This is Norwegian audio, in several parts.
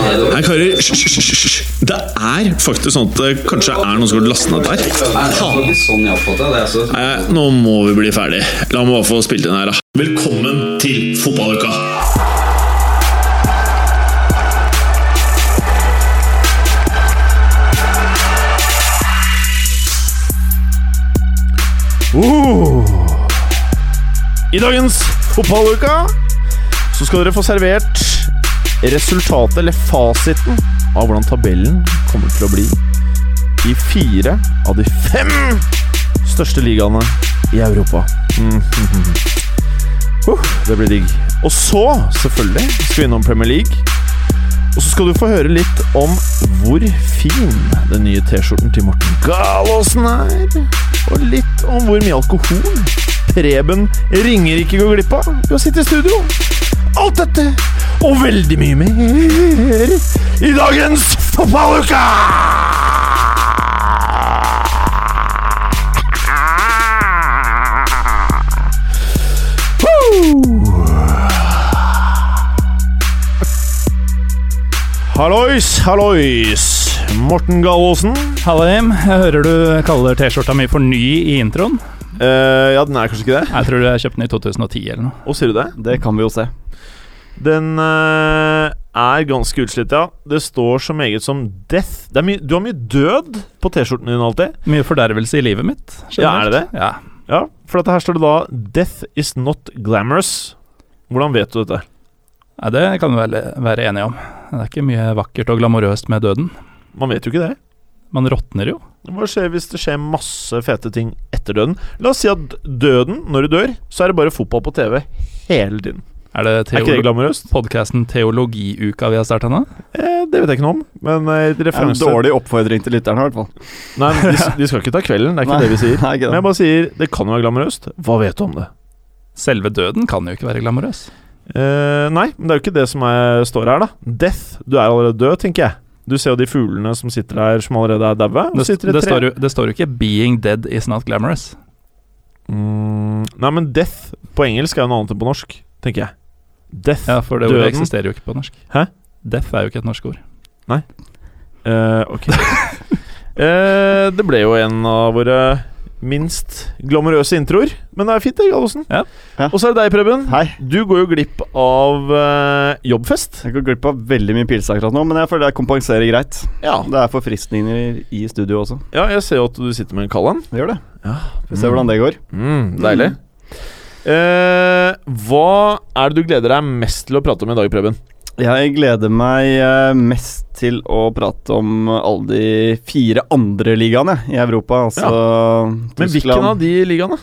hører hysj, hysj, hysj, hysj. Det er faktisk sånn at det kanskje er noen som har lastet ned der. Nei, det var ikke sånn jeg oppfattet det. Altså. Nei, nå må vi bli ferdig. La meg bare få spilt inn her, da. Velkommen til fotballuka! Oh. I dagens fotballuka så skal dere få servert resultatet, eller fasiten, av hvordan tabellen kommer til å bli i fire av de fem største ligaene i Europa. Mhm. Uh, det blir digg. Og så, selvfølgelig, skal vi innom Premier League. Og så skal du få høre litt om hvor fin den nye T-skjorten til Morten Galaasen er. Og litt om hvor mye alkohol Preben Ringerike går glipp av ved å sitte i studio. Alt dette og veldig mye mer i dagens fotballuke! Hallois, hallois. Morten Gallaasen. Hallim, jeg hører du kaller T-skjorta mi for ny i introen. Eh, ja, den er kanskje ikke det? Jeg tror du kjøpte den i 2010 eller noe. Å, sier du det? Det kan vi jo se. Den eh, er ganske utslitt, ja. Det står så meget som death. Det er mye, du har mye død på T-skjorten din alltid. Mye fordervelse i livet mitt. Ja, er det det? Ja. Ja, For dette her står det da 'Death is not glamorous'. Hvordan vet du dette? Nei, det kan vi vel være enige om. Det er ikke mye vakkert og glamorøst med døden. Man vet jo ikke det. Man råtner jo. Hva skjer hvis det skjer masse fete ting etter døden? La oss si at døden, når du dør, så er det bare fotball på TV hele tiden. Er det Er ikke det teolo glamorøst? podkasten Teologiuka vi har starta nå? Eh, det vet jeg ikke noe om, men eh, En referanse dårlig oppfordring til lytterne, i hvert fall. Nei, men de, de skal ikke ta kvelden, det er ikke det vi sier. Nei, ikke Men jeg det. bare sier det kan være glamorøst. Hva vet du om det? Selve døden kan jo ikke være glamorøs. Eh, nei, men det er jo ikke det som er, står her, da. Death. Du er allerede død, tenker jeg. Du ser jo de fuglene som sitter der, som allerede er daue. Det, det, står jo, det står jo ikke 'being dead is not glamorous'. mm, Nei, men death på engelsk er jo noe annet enn på norsk, tenker jeg. Death. Ja, For det ordet Døden. eksisterer jo ikke på norsk. Hæ? Death er jo ikke et norsk ord. Eh, ok. Eh, det ble jo en av våre minst glamorøse introer, men det er fint, det, Gallosen. Ja. Ja. Og så er det deg, Preben. Hei. Du går jo glipp av eh, jobbfest. Jeg går glipp av veldig mye pils akkurat nå, men jeg føler jeg kompenserer greit. Ja. Det er forfriskninger i studio også. ja, jeg ser jo at du sitter med en kald en. Det gjør det. Ja. Vi ser hvordan det går. Mm, deilig. Eh, hva er det du gleder deg mest til å prate om i dag, Preben? Jeg gleder meg eh, mest til å prate om alle de fire andre ligaene i Europa. Altså Men hvilken av de ligaene?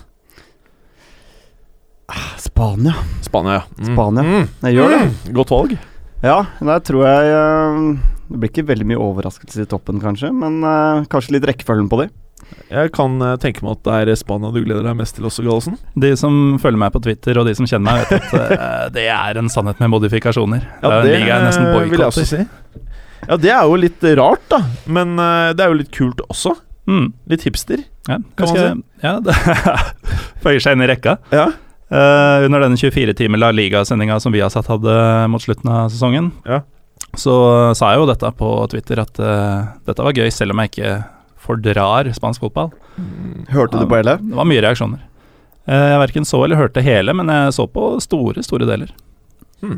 Spania. Spania, ja. Mm. Spania. Mm. Jeg gjør det. Mm. Godt valg. Ja, der tror jeg eh, Det blir ikke veldig mye overraskelser i toppen, kanskje, men eh, kanskje litt rekkefølgen på de. Jeg kan eh, tenke meg at det er Spania du gleder deg mest til også, Gallosen. De som følger meg på Twitter og de som kjenner meg, vet at eh, det er en sannhet med modifikasjoner. det er en liga jeg nesten eh, vil jeg også boikotter. si. Ja, det er jo litt rart, da. Men eh, det er jo litt kult også. Mm, Litt hipster. ja, man ganske, ja, det føyer seg inn i rekka. Ja. Eh, under denne 24-timer La Liga-sendinga som vi har satt hadde mot slutten av sesongen, Ja. så sa jeg jo dette på Twitter, at eh, dette var gøy, selv om jeg ikke fordrar spansk fotball. Mm. Hørte du på hele? Det var mye reaksjoner. Eh, jeg verken så eller hørte hele, men jeg så på store, store deler. Det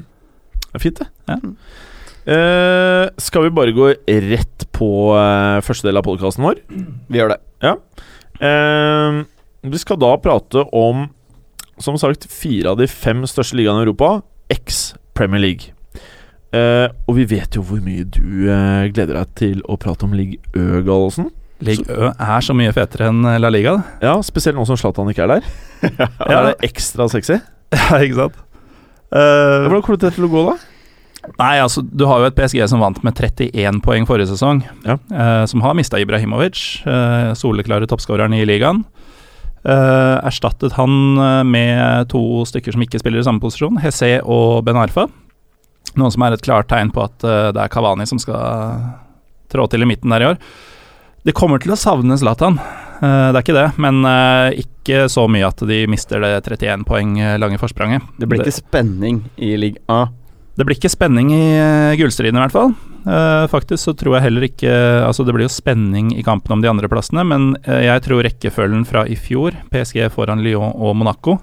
er fint, det. Ja. Mm. Eh, skal vi bare gå rett på eh, første del av podkasten vår? Vi gjør det. Eh, vi skal da prate om, som sagt, fire av de fem største ligaene i Europa, X Premier League. Eh, og vi vet jo hvor mye du eh, gleder deg til å prate om league Ø, Gallosen. Ligue Ø er så mye fetere enn La Liga. da. Ja, spesielt nå som Zlatan ikke er der. Da er det ekstra sexy. Ja, ikke sant? Eh, Hvordan kommer det til å gå, da? nei, altså, du har jo et PSG som vant med 31 poeng forrige sesong. Ja. eh, som har mista Ibrahimovic, eh, soleklare toppskåreren i ligaen. Eh, erstattet han eh, med to stykker som ikke spiller i samme posisjon, Hesse og Ben Arfa. Noe som er et klart tegn på at eh, det er Kavani som skal eh, trå til i midten der i år. De kommer til å savne Zlatan, eh, det er ikke det. Men eh, ikke så mye at de mister det 31 poeng eh, lange forspranget. Det blir ikke spenning i league A. Det blir ikke spenning i eh, gullstriden i hvert fall. Eh, faktisk så tror jeg heller ikke Altså, det blir jo spenning i kampen om de andre plassene, men eh, jeg tror rekkefølgen fra i fjor, PSG foran Lyon og Monaco,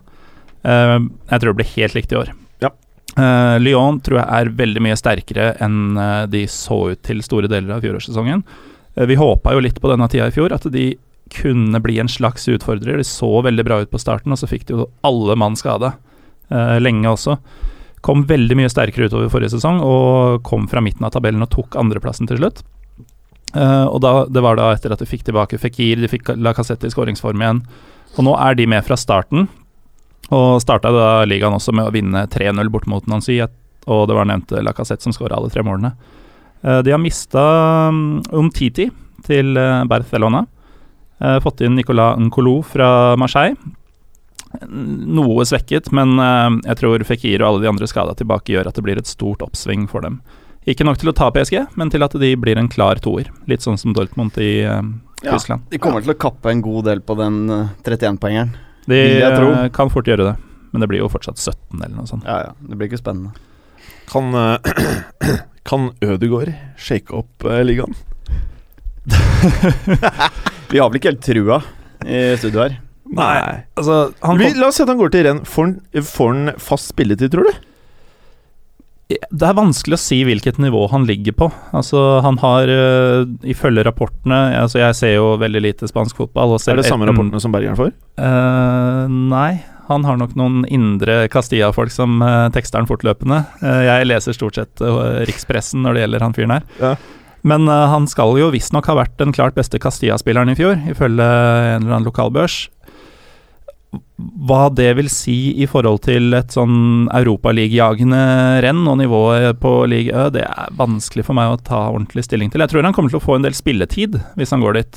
eh, jeg tror det blir helt likt i år. Ja. Eh, Lyon tror jeg er veldig mye sterkere enn eh, de så ut til store deler av fjorårssesongen. Eh, vi håpa jo litt på denne tida i fjor at de kunne bli en slags utfordrer. De så veldig bra ut på starten, og så fikk de jo alle mann skade. eh, lenge også. Kom veldig mye sterkere utover forrige sesong og kom fra midten av tabellen og tok andreplassen til slutt. Eh, og da, Det var da etter at de fikk tilbake Fikir, de fikk Lacassette i skåringsform igjen. Og nå er de med fra starten, og starta da ligaen også med å vinne 3-0 bort mot Nancy, et- og det var nevnte Lacassette som skåra alle tre målene. Eh, de har mista Omtiti til eh, Barcelona. Eh, fått inn Nicolas Nkolo fra Marseille. Noe svekket, men eh, jeg tror Fekir og alle de andre skada tilbake gjør at det blir et stort oppsving for dem. Ikke nok til å ta PSG, men til at de blir en klar toer. Litt sånn som Dortmund i eh, Ja. Tyskland. De kommer til å kappe en god del på den eh, 31-poengeren. De Vil jeg tro. eh, kan fort gjøre det, men det blir jo fortsatt 17 eller noe sånt. Ja, ja. Det blir ikke spennende. Kan, eh, kan Ødegaard shake opp eh, ligaen? Vi har vel ikke helt trua i studio her. Nei. Altså, han Vi, la oss si at han går til renn. Får han- får han fast spilletid, tror du? Det er vanskelig å si hvilket nivå han ligger på. Altså, han har, øh, ifølge rapportene altså Jeg ser jo veldig lite spansk fotball. Og ser Er det samme etten- rapportene som Bergeren får? Eh, nei. Han har nok noen indre Castilla-folk som eh, tekster han fortløpende. Eh, jeg leser stort sett eh, rikspressen når det gjelder han fyren her. Ja. Men eh, han skal jo visstnok ha vært den klart beste Castilla-spilleren i fjor, ifølge en eller annen lokalbørs. Hva det vil si i forhold til et sånn europaligjagende renn og nivået på league Ø, det er vanskelig for meg å ta ordentlig stilling til. Jeg tror han kommer til å få en del spilletid hvis han går dit.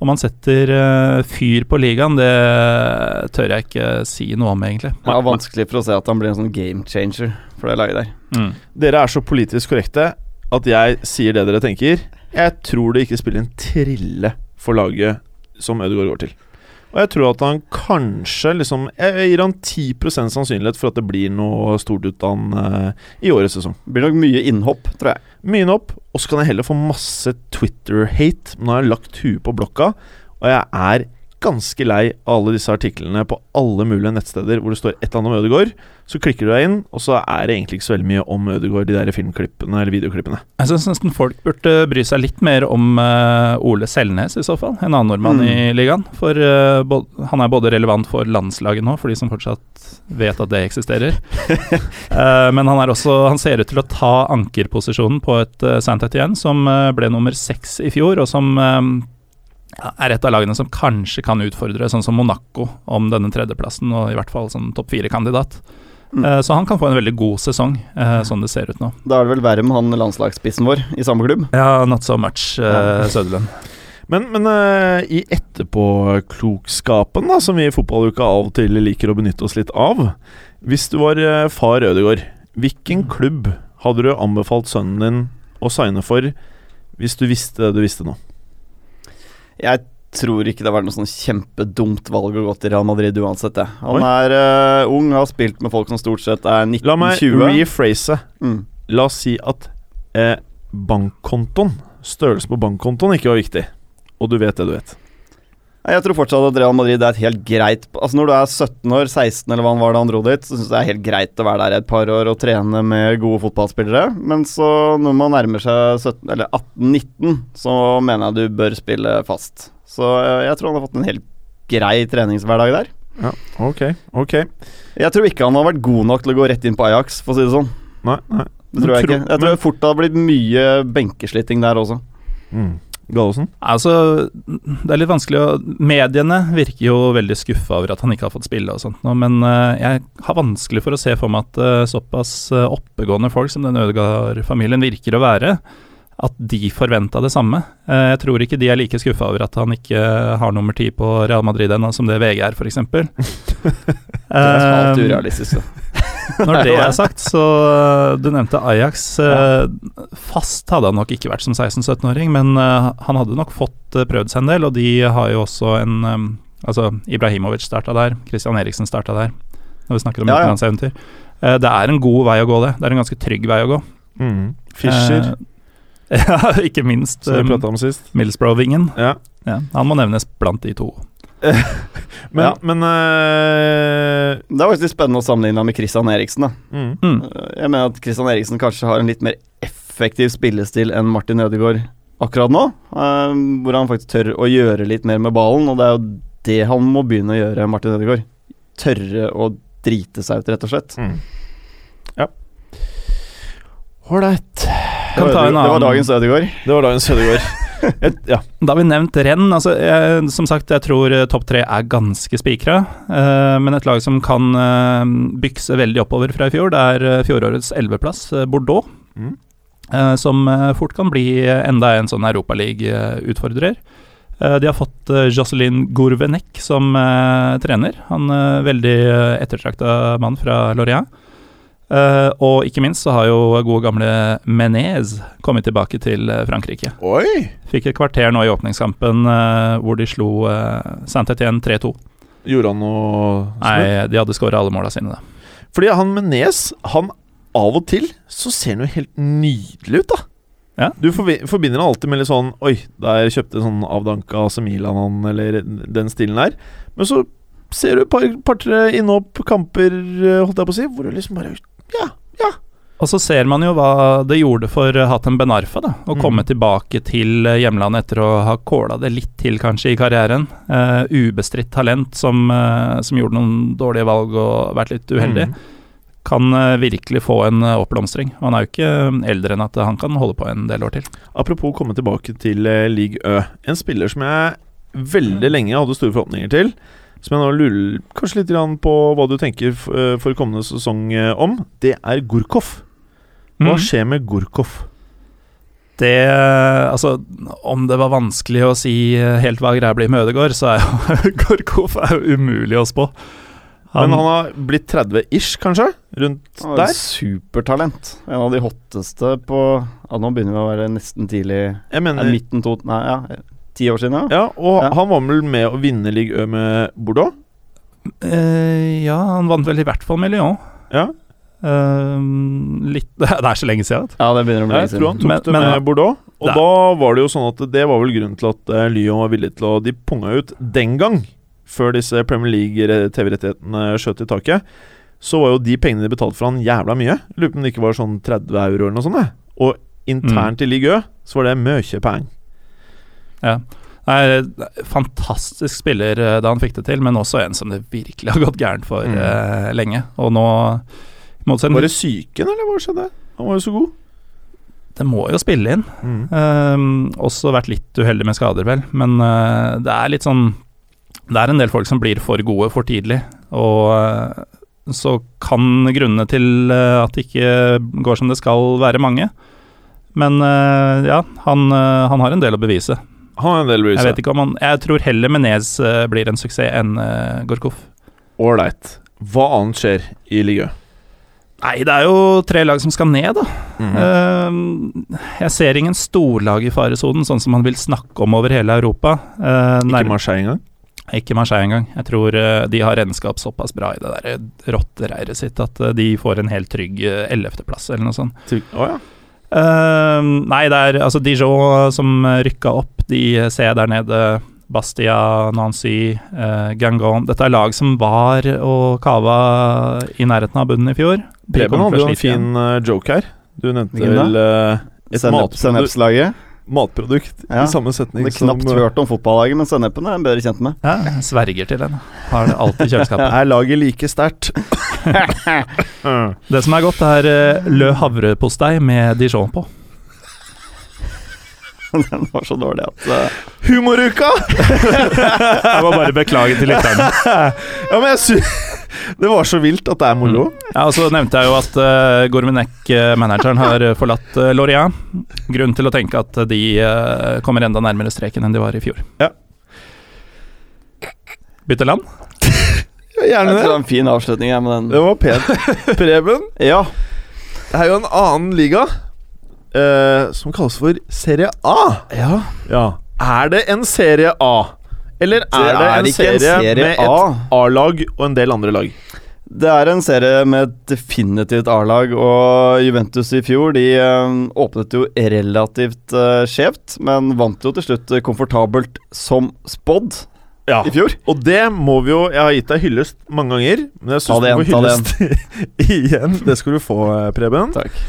Om han setter eh, fyr på ligaen, det tør jeg ikke si noe om, egentlig. Det er vanskelig for å se at han blir en sånn game changer for det laget der. Dere er så politisk korrekte at jeg sier det dere tenker. Jeg tror det ikke spiller en trille for laget som Ødegaard går til. Og jeg tror at han kanskje liksom Jeg jeg gir han 10 sannsynlighet for at det blir noe stort ut av han eh, i årets sesong. Det blir nok mye innhopp, tror jeg. Mye inn opp, og så kan jeg heller få masse Twitter-hate. Men nå har jeg lagt huet på blokka, og jeg er ganske lei av alle disse artiklene på alle mulige nettsteder hvor det står et eller annet om Ødegaard. Så klikker du deg inn, og så er det egentlig ikke så veldig mye om Ødegaard, de der filmklippene eller videoklippene. Jeg syns nesten folk burde bry seg litt mer om eh, Ole Selnes, i så fall. En annen nordmann Mm. i ligaen. For eh, bo- han er både relevant for landslaget nå, for de som fortsatt vet at det eksisterer. Eh, men han, er også, han ser ut til å ta ankerposisjonen på et uh, Saint-Étienne som eh, ble nummer seks i fjor, og som eh, ja, er et av lagene som kanskje kan utfordre, sånn som Monaco, om denne tredjeplassen, og i hvert fall som topp fire-kandidat. Mm. Eh, så han kan få en veldig god sesong, eh, sånn det ser ut nå. Da er det vel verre med han landslagsspissen vår i samme klubb. Ja, not so much, eh, Søderlund. Men, men eh, i etterpåklokskapen, da, som vi i fotballuka av og til liker å benytte oss litt av Hvis du var eh, far Ødegaard, hvilken klubb hadde du anbefalt sønnen din å signe for hvis du visste det du visste nå? Jeg tror ikke det har vært noe sånn kjempedumt valg å gå til Real Madrid uansett. Jeg. Han er eh, ung, har spilt med folk som stort sett er La meg 1920. rephrase. Mm. La oss si at eh, bankkontoen, størrelsen på bankkontoen, ikke var viktig. Og du vet det du vet. Nei, Jeg tror fortsatt at Real Madrid er et helt greit Altså Når du er 17 år, 16 eller hva han var da han dro dit, så syns jeg det er helt greit å være der i et par år og trene med gode fotballspillere. Men så når man nærmer seg 17 eller 18-19, så mener jeg du bør spille fast. Så eh, jeg tror han har fått en helt grei treningshverdag der. Ok, ok. Jeg tror ikke han har vært god nok til å gå rett inn på Ajax, for å si det sånn. Nei, nei. Det tror jeg Men ikke. Jeg tror fort det har blitt mye benkeslytting der også. Mm. Gallosen? Altså, det er litt vanskelig å Mediene virker jo veldig skuffa over at han ikke har fått spille og sånt nå, men eh, jeg har vanskelig for å se for meg at eh, såpass eh, oppegående folk som den Ødegaard-familien virker å være, at de forventa det samme. Eh, jeg tror ikke de er like skuffa over at han ikke har nummer ti på Real Madrid ennå, som det VG er, Eh, f.eks. Eh, Det er alt urealistisk. da. Når det er sagt, så øh, Du nevnte Ajax. øh, Fast hadde han nok ikke vært som 16-17-åring, men øh, han hadde nok fått øh, prøvd seg en del, og de har jo også en øhm, Altså, Ibrahimovic starta der, Christian Eriksen starta der, når vi snakker om Ja, ja. utenlandseventyr. Eh, Det er en god vei å gå, det. Det er en ganske trygg vei å gå. Mm. Fischer. Eh, Ja, ikke minst som vi um, prata om sist. Middlesbrough-vingen. Ja. Ja, han må nevnes blant de to. Men, Ja. men eh, Det er faktisk litt spennende å sammenligne han med Christian Eriksen. Da. mm. Mm. Eh, Jeg mener at Christian Eriksen kanskje har en litt mer effektiv spillestil enn Martin Ødegaard akkurat nå. eh, Hvor han faktisk tør å gjøre litt mer med ballen, og det er jo det han må begynne å gjøre, Martin Ødegaard. Tørre å drite seg ut, rett og slett. Mm. Ja. Ålreit. Det var, Kan ta en Ødegaard- det var annen. dagens Ødegaard. Det var dagens Hødegård. Et- ja. Da har vi nevnt renn. Altså, jeg, som sagt, jeg tror eh, topp tre er ganske spikra. eh, men et lag som kan eh, bykse veldig oppover fra i fjor, det er eh, fjorårets elveplass, eh, Bordeaux. Mm. eh, som eh, fort kan bli eh, enda en sånn Europaliga-utfordrer. de har fått eh, Jocelyn Gourvenek som eh, trener. Han er veldig uh, ettertrakta mann fra Lorient. Eh, og ikke minst så har jo gode gamle Menez kommet tilbake til eh, Frankrike. Oi! Fikk et kvarter nå i åpningskampen eh, hvor de slo uh, Saint-Étienne 3-2. Gjorde han noe smurt? Nei, de hadde skåra alle måla sine, da. Fordi han Menes, han av og til så ser han jo helt nydelig ut, da. Ja. Du forbi forbinder han alltid med litt sånn Oi, der kjøpte sånn Avdanka Semilan han, eller den stilen der. Men så ser du et par, par-tre innhopp, kamper, eh, holdt jeg på å si, hvor du liksom bare Ja, ja. Og så ser man jo hva det gjorde for eh, Hatem Ben Arfa, da. Å Mm. komme tilbake til eh, hjemlandet etter å ha kåla det litt til, kanskje, i karrieren. Eh, ubestridt talent som, eh, som gjorde noen dårlige valg og vært litt uheldig. Mm. Kan eh, virkelig få en eh, oppblomstring. Og han er jo ikke eh, eldre enn at eh, han kan holde på en del år til. Apropos komme tilbake til eh, League Ø. En spiller som jeg veldig lenge hadde store forhåpninger til. Som jeg nå lurer kanskje litt grann på hva du tenker f- eh, for kommende sesong eh, om. Det er Gurkov. Hva Mm. skjer med Gurkov? Det Altså, om det var vanskelig å si eh, helt hva greia blir med Ødegaard, så er jo Gorkov er jo umulig å spå. Han, Men han har blitt 30-ish, kanskje? Rundt Han er et der? Supertalent. En av de hotteste på ja, Nå begynner vi å være nesten tidlig Jeg Nei, mener Midten to Nei, ja. Ti år siden, ja. Ja, og Ja. han var vel med å vinne Ligue Ø med Bordeaux? eh, ja, han vant vel i hvert fall med Lyon. Ja. Eh, litt Det er så lenge siden. vet du. Ja, det begynner å bli Jeg lenge tror han siden. tok Men- det men- med Bordeaux. Og Nei. da var det jo sånn at det var vel grunnen til at eh, Lyon var villig til å De punga ut den gang, før disse Premier League-TV-rettighetene skjøt i taket. Så var jo de pengene de betalte for han, jævla mye. Lurer på om det ikke var sånn 30 euro eller noe sånt. jeg. Og Mm. internt i Ligue Ø så var det mye penger. Nei, eh, fantastisk spiller eh, da han fikk det til, men også en som det virkelig har gått gærent for Mm. eh, lenge. Og nå i motsetning- Var det psyken, eller hva skjedde? Han var jo så god. Det må jo spille inn. Mm. Ehm, også vært litt uheldig med skader, vel. Men eh, det er litt sånn Det er en del folk som blir for gode for tidlig. Og eh, så kan grunnene til eh, at det ikke går som det skal, være mange. Men eh, ja, han, eh, han har en del å bevise. Han har en del Jeg bryr vet ikke om han Jeg tror heller Menez eh, blir en suksess enn uh, Gorkov. Ålreit. Hva annet skjer i Ligue Ø? Nei, det er jo tre lag som skal ned, da. Mhm. Eh, Ehm, jeg ser ingen storlag i faresonen, sånn som man vil snakke om over hele Europa. Uh, Ikke Marseille engang? Ikke Marseille engang. Jeg tror eh, de har renskap såpass bra i det der eh, rottereiret sitt at eh, de får en helt trygg eh, ellevteplass eller noe sånt. Til- Å ja. Eh, nei, det er altså Dijon som eh, rykka opp. De eh, ser jeg der nede. Bastia, Nancy, eh, Gangon Dette er lag som var og kava i nærheten av bunnen i fjor. De Preben kommer hadde til å jo en slite igjen. fin eh, joke her. Du nevnte Hvilken da? vel eh, et Sennep, matprodu- Sennepslaget. matprodukt Ja. i samme setning Det er knapt eh, hørt om fotballaget, men sennepen er en bedre kjent med. Ja, jeg sverger til den. Har det alltid i kjøleskapet. Er laget like sterkt? Det som er godt, er eh, lø havrepostei med Dijon på. Den var så dårlig at eh, Humoruka! Jeg må bare beklage til lytterne. Ja, men jeg sy Det var så vilt at det er moro. Ja, og så nevnte jeg jo at uh, Gourmenek-manageren har eh, forlatt uh, Lorient. Grunn til å tenke at de eh, kommer enda nærmere streken enn de var i fjor. Ja. Bytte land? Ja, Jeg Gjerne tror det det. var en fin avslutning her med Det den. var pent. Preben, Ja, det er jo en annen liga eh, som kalles for Serie A. ja. Ja. Er det en Serie A? Eller er det, en, serie med et A. A-lag og en del andre lag? Det er en serie med et definitivt A-lag, og Juventus i fjor de eh, åpnet jo relativt eh, skjevt, men vant jo til slutt eh, komfortabelt som spådd Ja. i fjor. Og det må vi jo Jeg har gitt deg hyllest mange ganger, men Ta jeg syns du det får igjen, hyllest igjen. Det skal du få, eh, Preben. Takk.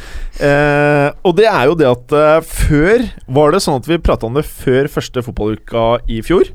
Eh, og det er jo det at eh, før Var det sånn at vi prata om det før første fotballuka i fjor?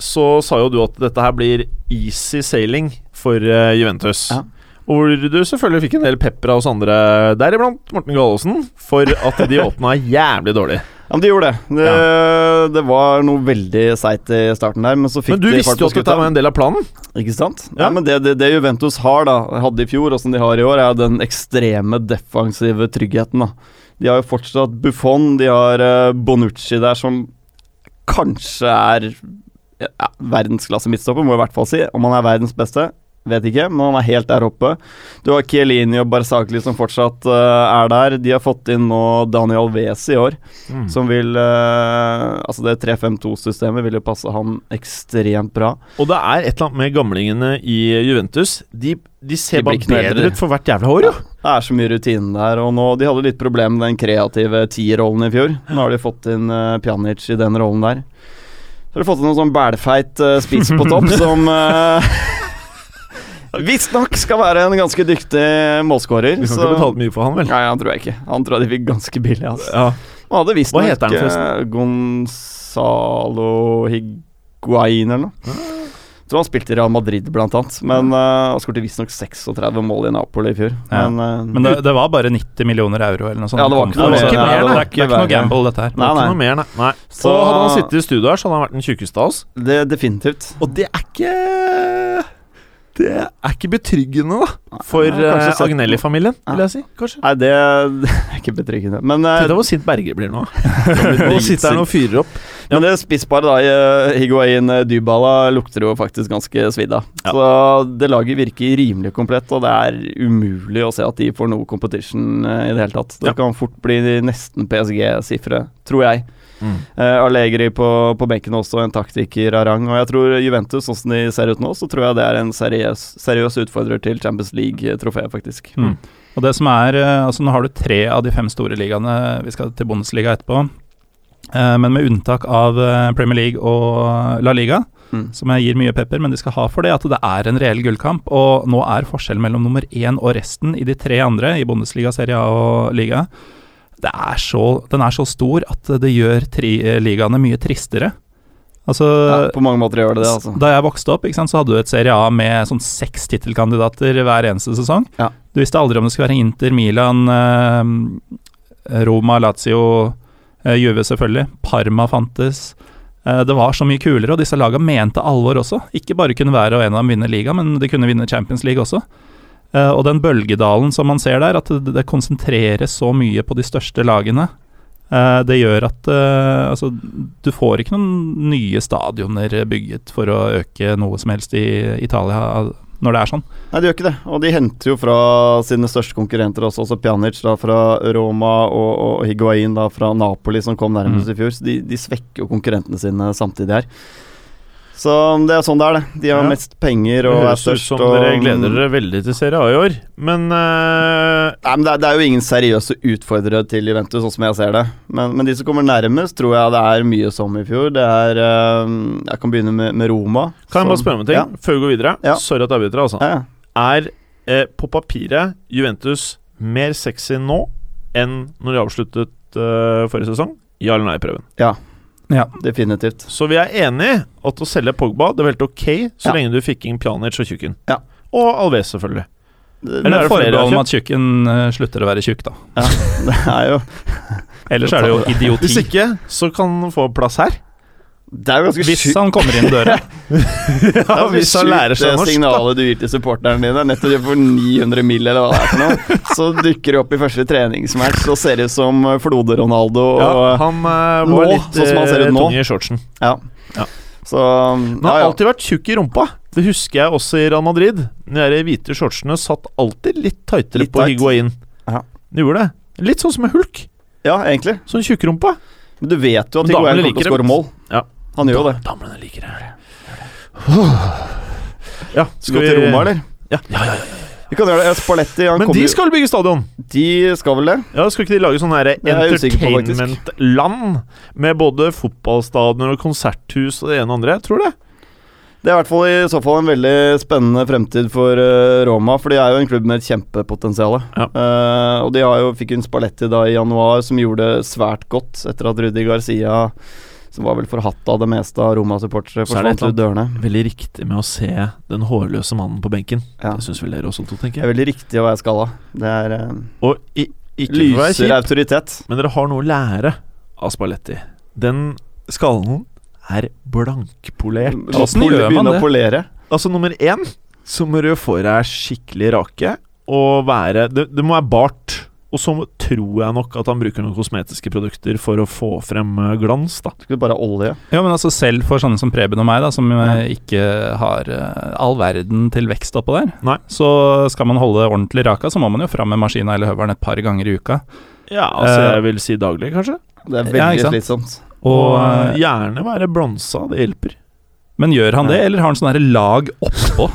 Så sa jo du at dette her blir easy sailing for eh, Juventus. Ja. Og hvor du selvfølgelig fikk en del pepper av oss andre, deriblant Morten Gallaasen, for at de åpna jævlig dårlig. Ja, men de gjorde det. Det, det var noe veldig seigt i starten der, men så fikk Men du de visste jo at dette var en del av planen. Ikke sant? Ja. Nei, men det, det, det Juventus har da, hadde i fjor, og som de har i år, er den ekstreme defensive tryggheten. da. De har jo fortsatt Buffon, de har eh, Bonucci der, som kanskje er ja, verdensklasse midtstopper, må jeg i hvert fall si. Om han er verdens beste, vet ikke, men han er helt der oppe. Du har Chiellini og Barzagli som fortsatt eh, er der. De har fått inn nå Daniel Wes i år. Mm. Som vil eh, Altså, det 3-5-2-systemet vil jo passe ham ekstremt bra. Og det er et eller annet med gamlingene i Juventus. De, de ser De blir bare ikke noe bedre bedre. ut for hvert jævla år, jo. Det er så mye rutine der, og nå De hadde litt problem med den kreative tierrollen i fjor. Nå har de fått inn eh, Pjanic i den rollen der. Så har de fått inn en sånn bælfeit eh, spiss på topp som uh, visstnok skal være en ganske dyktig målskårer. Vi kan så- ikke betale mye for han, vel? Nei, han tror jeg ikke. Han tror jeg de fikk ganske billig, altså. Ja. Han hadde visstnok Hva heter han eh, Gonzalo Higuain eller noe. Jeg tror han spilte i Real Madrid, blant annet. Men uh, han skåret visstnok 36 mål i Napoli i fjor. Ja. eh, Men det, det var bare 90 millioner euro eller noe sånt. Ja, det var ikke Det noe ikke mer, mer, det det var er ikke, ikke det er ikke noe verre. gamble, dette her. Nei, Ikke nei. noe mer, nei. nei. Så, Så- hadde han sittet i studio her, så hadde han vært den tjukeste av oss. Det definitivt. Og det er ikke Det er ikke betryggende, da. For Nei, kanskje eh, sett- Agnelli-familien, vil Ja. jeg si. Kanskje. Nei, det det er ikke betryggende. Men, eh, Tenk deg hvor sint Berger blir nå. Nå sitter han og fyrer opp. men det spissparet da, i, eh, Higuain eh, Dybala lukter jo faktisk ganske svidd av. Ja. Så det laget virker rimelig komplett, og det er umulig å se at de får noe competition eh, i det hele tatt. Det Ja. kan fort bli nesten PSG-sifre, tror jeg. Mm. Eh, Allegri på, på benken også, en taktiker av rang. Og jeg tror Juventus, sånn som de ser ut nå, så tror jeg det er en seriøs, seriøs utfordrer til Champions League-trofeet, faktisk. Mm. Og det som er, eh, altså Nå har du tre av de fem store ligaene, vi skal til Bundesliga etterpå. Eh, Men med unntak av eh, Premier League og eh, La Liga, Mm. som jeg gir mye pepper, men de skal ha for det at det er en reell gullkamp. Og nå er forskjellen mellom nummer én og resten i de tre andre, i Bundesliga, Serie A og Liga, det er så, den er så stor at det gjør tri, eh, ligaene mye tristere. Altså, Ja, eh, på mange måter gjør det det, altså. da jeg vokste opp, ikke sant, så hadde du et Serie A med sånn seks tittelkandidater hver eneste sesong. Ja. Du visste aldri om det skulle være Inter, Milan, eh, Roma, Lazio, eh, Juve selvfølgelig. Parma fantes. Eh, det var så mye kulere, og disse laga mente alvor også. Ikke bare kunne hver og en av dem vinne liga, men de kunne vinne Champions League også. Eh, og den bølgedalen som man ser der, at det, det konsentreres så mye på de største lagene. Eh, Det gjør at eh, altså, du får ikke noen nye stadioner bygget for å øke noe som helst i Italia al- når det er sånn. Nei, de gjør ikke det. Og de henter jo fra sine største konkurrenter også, også Pjanic da fra Roma og, og Higuain da fra Napoli, som kom nærmest Mm. i fjor. Så de, de svekker jo konkurrentene sine samtidig her. Så det er sånn det er, det. De har Ja. mest penger Det og er høres ut størst. som og- dere gleder dere veldig til Serie A i år, men eh, Nei, men det, er, det er jo ingen seriøse utfordrere til Juventus, sånn som jeg ser det. Men, men de som kommer nærmest, tror jeg det er mye som i fjor. Det er eh, Jeg kan begynne med, med Roma. Kan jeg bare som- spørre om en ting Ja. før vi går videre? Ja. Sorry at jeg avbryter, altså. Ja, ja. Er eh, på papiret Juventus mer sexy nå enn når de avsluttet eh, forrige sesong? Ja eller nei-prøven. Definitivt. Så vi er enig at å selge Pogba det var helt ok så Ja. lenge du fikk inn Pjanic og Tjukken. Ja. Og Alves, selvfølgelig. Det, Men er det Eller flere forbehold om kjøpt? at tjukken eh, slutter å være tjukk, da. det er jo Ellers er det jo Hvis idioti. ikke, så kan han få plass her. Det er jo ganske Hvis sjukt. han kommer inn døra. Ja, hvis han lærer seg norsk, da. signalet du gir til supporterne dine, nettopp de får 900 mil eller hva det er for noe, så dukker de opp i første treningsmatch og ser ut som Flode-Ronaldo. Ja, og- han eh, var nå, litt sånn som han ser ut eh, nå. tung i shortsen. Ja. Ja. Så um, Han har ja, ja. alltid vært tjukk i rumpa. Det husker jeg også i Real Madrid. De der hvite shortsene satt alltid litt tightere Litt på tight. Higuain. Ja. De gjorde det. Litt sånn som med Hulk. ja, egentlig. Sånn tjukkrumpa. Men du vet jo at Men damene Higuain kommer liker til å det. skåre mål. Ja. Han gjør jo det. Damene liker det. Ja, Skal vi til Roma, eller? Ja. ja, Vi kan gjøre det. Spalletti han Men kommer de jo- skal bygge stadion! de skal vel det? Ja, Skal ikke de lage sånn her Det er jeg usikker på, faktisk. entertainment-land? Med både fotballstadioner og konserthus og det ene og andre? Jeg tror det. Det er i hvert fall i så fall en veldig spennende fremtid for eh, Roma, for de er jo en klubb med et kjempepotensial. Ja. Eh, og de har jo, fikk jo en Spalletti da i januar som gjorde det svært godt etter at Rudi Garcia, som var vel forhatt av det meste av Roma-supportere, Så er det et forsvant ut dørene. Veldig riktig med å se den hårløse mannen på benken. Ja. Det syns vel dere også, to, Det er tenker jeg. veldig riktig å være skalla. Det er eh, Og i, ikke for å være lyser kjip, autoritet. men dere har noe å lære av Spalletti. Den skallen er blankpolert. Ja, åssen Pol- gjør man begynne det? å polere. Altså nummer én Så må du få deg skikkelig rake Og være Det, det må være bart Og så må- tror jeg nok at han bruker noen kosmetiske produkter For å få frem eh, glans da Skulle bare ha olje. Ja, men altså selv for sånne som Preben og meg, da, som eh, ikke har eh, all verden til vekst oppå der, Nei. så skal man holde ordentlig raka, så må man jo fram med maskina eller høveren et par ganger i uka. Ja, altså Eh, jeg vil si daglig kanskje Det er Ja, veldig ikke sant? slitsomt. Og, Og eh, eh, gjerne være bronsa, det hjelper men gjør han det, eller har han sånne her lag oppå?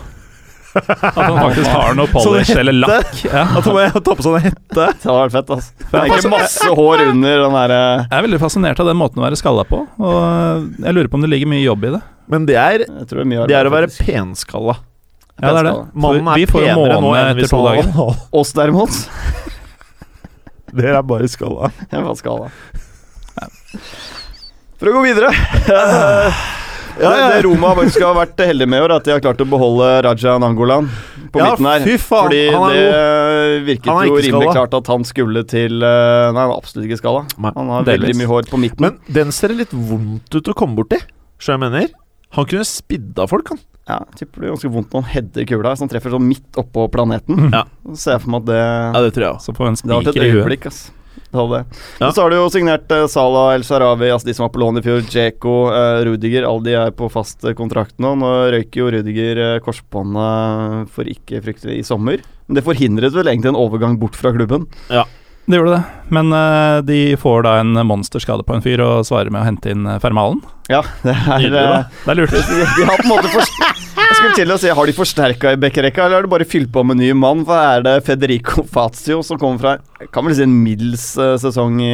At han faktisk har noe polish Sånn eller lakk? Ja. At han må ta på sånn hett Det hadde vært fett, altså. Det er ikke masse hår under den eh, derre Jeg er veldig fascinert av den måten å være skalla på, og eh, jeg lurer på om det ligger mye jobb i det. Men det er, Jeg tror det er mye det er å være faktisk. penskalla Ja, det er det. Penskalla. Mannen er vi får jo penere nå måne enn etter hvis to han var Oss derimot Dere er bare skalla Jeg var skada. For å gå videre Eh, ja. Det Roma faktisk har vært heldig med i år, er at de har klart å beholde Raja Nangolan på Ja, midten her. fy faen, Fordi han er det virket Han er jo ikke rimelig skalla. klart at han skulle til eh, Nei, han er absolutt ikke skalla. Nei, Han har delvis. veldig mye hår på midten. Men den ser litt vondt ut å komme borti. Så jeg mener Han kunne spidda folk, han. ja, jeg tipper det er ganske vondt når han header kula, så han treffer sånn midt oppå planeten. Ja. Så ser jeg for meg at det det tror jeg Så på en Det har vært spiker et i huet. øyeblikk, ass. Det hadde det. Ja. Og så har du jo signert eh, Salah, El Sharawi, altså de som var på lån i fjor, Djeko, eh, Rudiger. Alle de er på fast eh, kontrakt nå. Nå røyker jo Rudiger eh, korsbåndet for ikke fryktelig i sommer. Men det forhindret vel egentlig en overgang bort fra klubben. Det gjorde det. Men eh, de får da en monsterskade på en fyr og svarer med å hente inn eh, Fermalen. Ja, det er Nydelig, da. eh, Det er lurt. de, de har på en måte forst- Jeg skulle til å si, Har de forsterka i bekkerekka, eller har de bare fylt på med ny mann? For her er det Federico Fazio som kommer fra jeg kan vel si en middels eh, sesong i,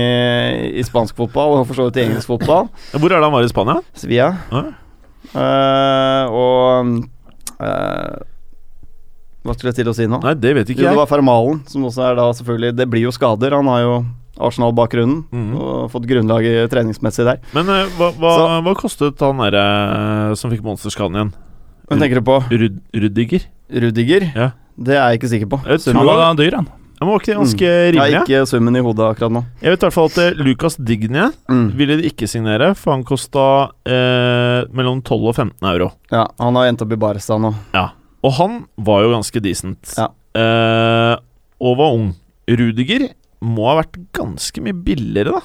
i spansk fotball, og for så vidt i engelsk fotball. Hvor er det han var i Spania? Sevilla. Ja. Eh, og eh, Hva skulle jeg til å si nå? Nei, det vet jo, ikke det jeg. var Fermalen, som også er da selvfølgelig Det blir jo skader. Han har jo Arsenal-bakgrunnen Mhm. og fått grunnlaget treningsmessig der. Men eh, hva, hva, hva kostet han derre eh, som fikk monsterskaden igjen? Men tenker du på Rud Rudiger? Rudiger? Mm. Ja. Det er jeg ikke sikker på. Jeg tror Han han var da dyr, han. Han var ikke det ganske Jeg rimelig? har Mm. ikke summen i hodet akkurat nå. Jeg vet i hvert fall at eh, Lucas Digne ville de ikke signere, for han kosta eh, mellom 12 og 15 euro. Ja, Han har endt opp i Barca nå. Og han var jo ganske decent. Ja. Eh, og var ung. Rudiger må ha vært ganske mye billigere, da.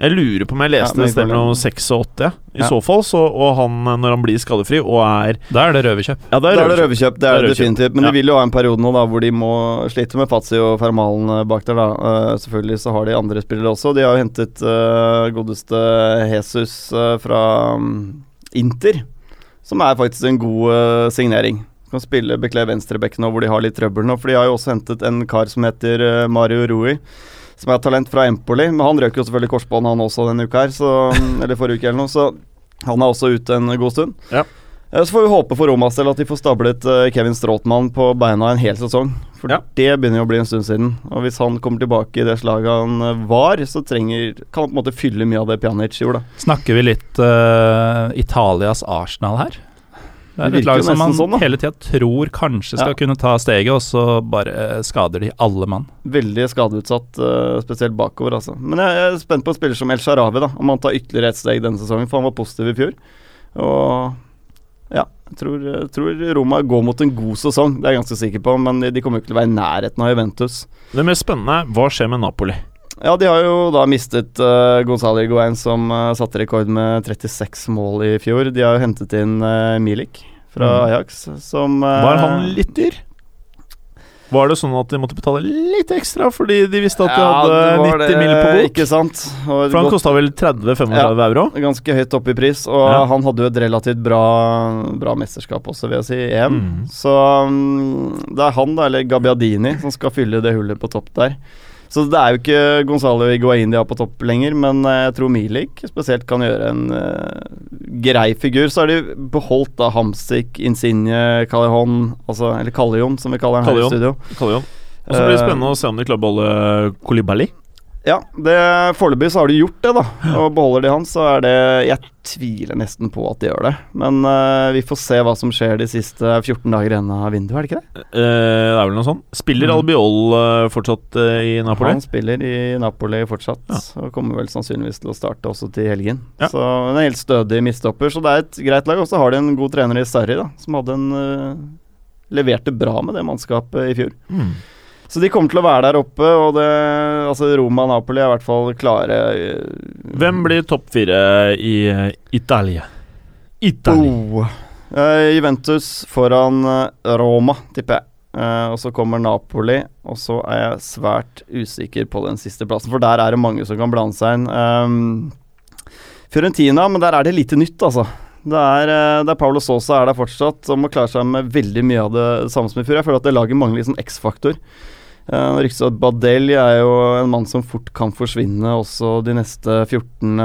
Jeg lurer på om jeg Ja, leste men et sted vi går mellom 86 og 80. I Ja. så fall, så, og han eh, når han blir skadefri og er Da er det røverkjøp. Ja, det Da er er det røverkjøp. røverkjøp, det er Da er det det røverkjøp. definitivt. Men Ja. de vil jo ha en periode nå da hvor de må slite med Fazzi og Fermalen eh, bak der, da. Eh, selvfølgelig så har de andre spillere også. De har jo hentet eh, godeste Jesus eh, fra mm, Inter, som er faktisk en god eh, signering. Kan spille bekle venstreback nå hvor de har litt trøbbel nå, for de har jo også hentet en kar som heter eh, Mario Rui. Som er et talent fra Empoli, men han røk jo selvfølgelig korsbånd han også denne uka her, så, mm, eller forrige uke eller noe, så han er også ute en god stund. Eh, Så får vi håpe for Romas del at de får stablet eh, Kevin Stråtmann på beina en hel sesong. For Ja. det begynner jo å bli en stund siden. Og hvis han kommer tilbake i det slaget han eh, var, så trenger, kan han på en måte fylle mye av det Pjanic gjorde. da. Snakker vi litt eh, Italias Arsenal her? Det er Det et virker lag jo som man nesten sånn, da. hele tida tror kanskje skal Ja. kunne ta steget, og så bare eh, skader de alle mann. Veldig skadeutsatt, eh, spesielt bakover, altså. Men jeg er spent på en spiller som El Sharawi, da. Om han tar ytterligere et steg denne sesongen, for han var positiv i fjor. Og ja, jeg tror, jeg tror Roma går mot en god sesong, det er jeg ganske sikker på. Men de de kommer jo ikke til å være i nærheten av Juventus. Det mest spennende er hva skjer med Napoli. Ja, de har jo da mistet uh, Gonzalo Higuain, som eh, satte rekord med 36 mål i fjor. De har jo hentet inn eh, Milik fra Mm. Ajax, som eh, Var han litt dyr? Var det sånn at de måtte betale litt ekstra fordi de visste at de Ja, det hadde var 90 det, mil på bok? Ikke sant? Og For han godt- kosta vel 30-35 euro? Ganske høyt oppe i pris, og Ja. han hadde jo et relativt bra, bra mesterskap også, vil jeg si, i EM. Mm. Så mm, det er han, da, eller Gabbiadini, som skal fylle det hullet på topp der. Så det er jo ikke Gonzalo Higuain de har på topp lenger, men eh, jeg tror Milik spesielt kan gjøre en eh, grei figur. Så har de beholdt da Hamsik, Insigne, Callejon, altså, eller Callejon som vi kaller han her Callejon. i studio. Eh, Kaller han. Og så blir det spennende å se om de klarer å beholde eh, Kolibali. Ja, det- foreløpig så har de gjort det, da. Og beholder de han, så er det Jeg tviler nesten på at de gjør det. Men eh, vi får se hva som skjer de siste 14 dager igjen av vinduet, er det ikke det? Eh, det er vel noe sånt. Spiller Mm. Albiol eh, fortsatt eh, i Napoli? Han spiller i Napoli fortsatt, og kommer vel sannsynligvis til å starte også til helgen. Ja. Så en helt stødig mistopper, så det er et greit lag. Og så har de en god trener i Sarri, da, som hadde en eh, Leverte bra med det mannskapet i fjor. Mm. Så de kommer til å være der oppe, og det Altså, Roma og Napoli er i hvert fall klare eh, Hvem blir topp fire i eh, Italia? Italia. Oh. Eh, Juventus foran eh, Roma, tipper jeg. Eh, og så kommer Napoli, og så er jeg svært usikker på den siste plassen, for der er det mange som kan blande seg inn. Ehm, Fiorentina, men der er det lite nytt, altså. Det er, eh, det er Paulo Sosa er der fortsatt, og må klare seg med veldig mye av det samme som i fjor. Jeg føler at det laget mangler liksom X-faktor. Uh, Ryktes at Badel er jo en mann som fort kan forsvinne også de neste 14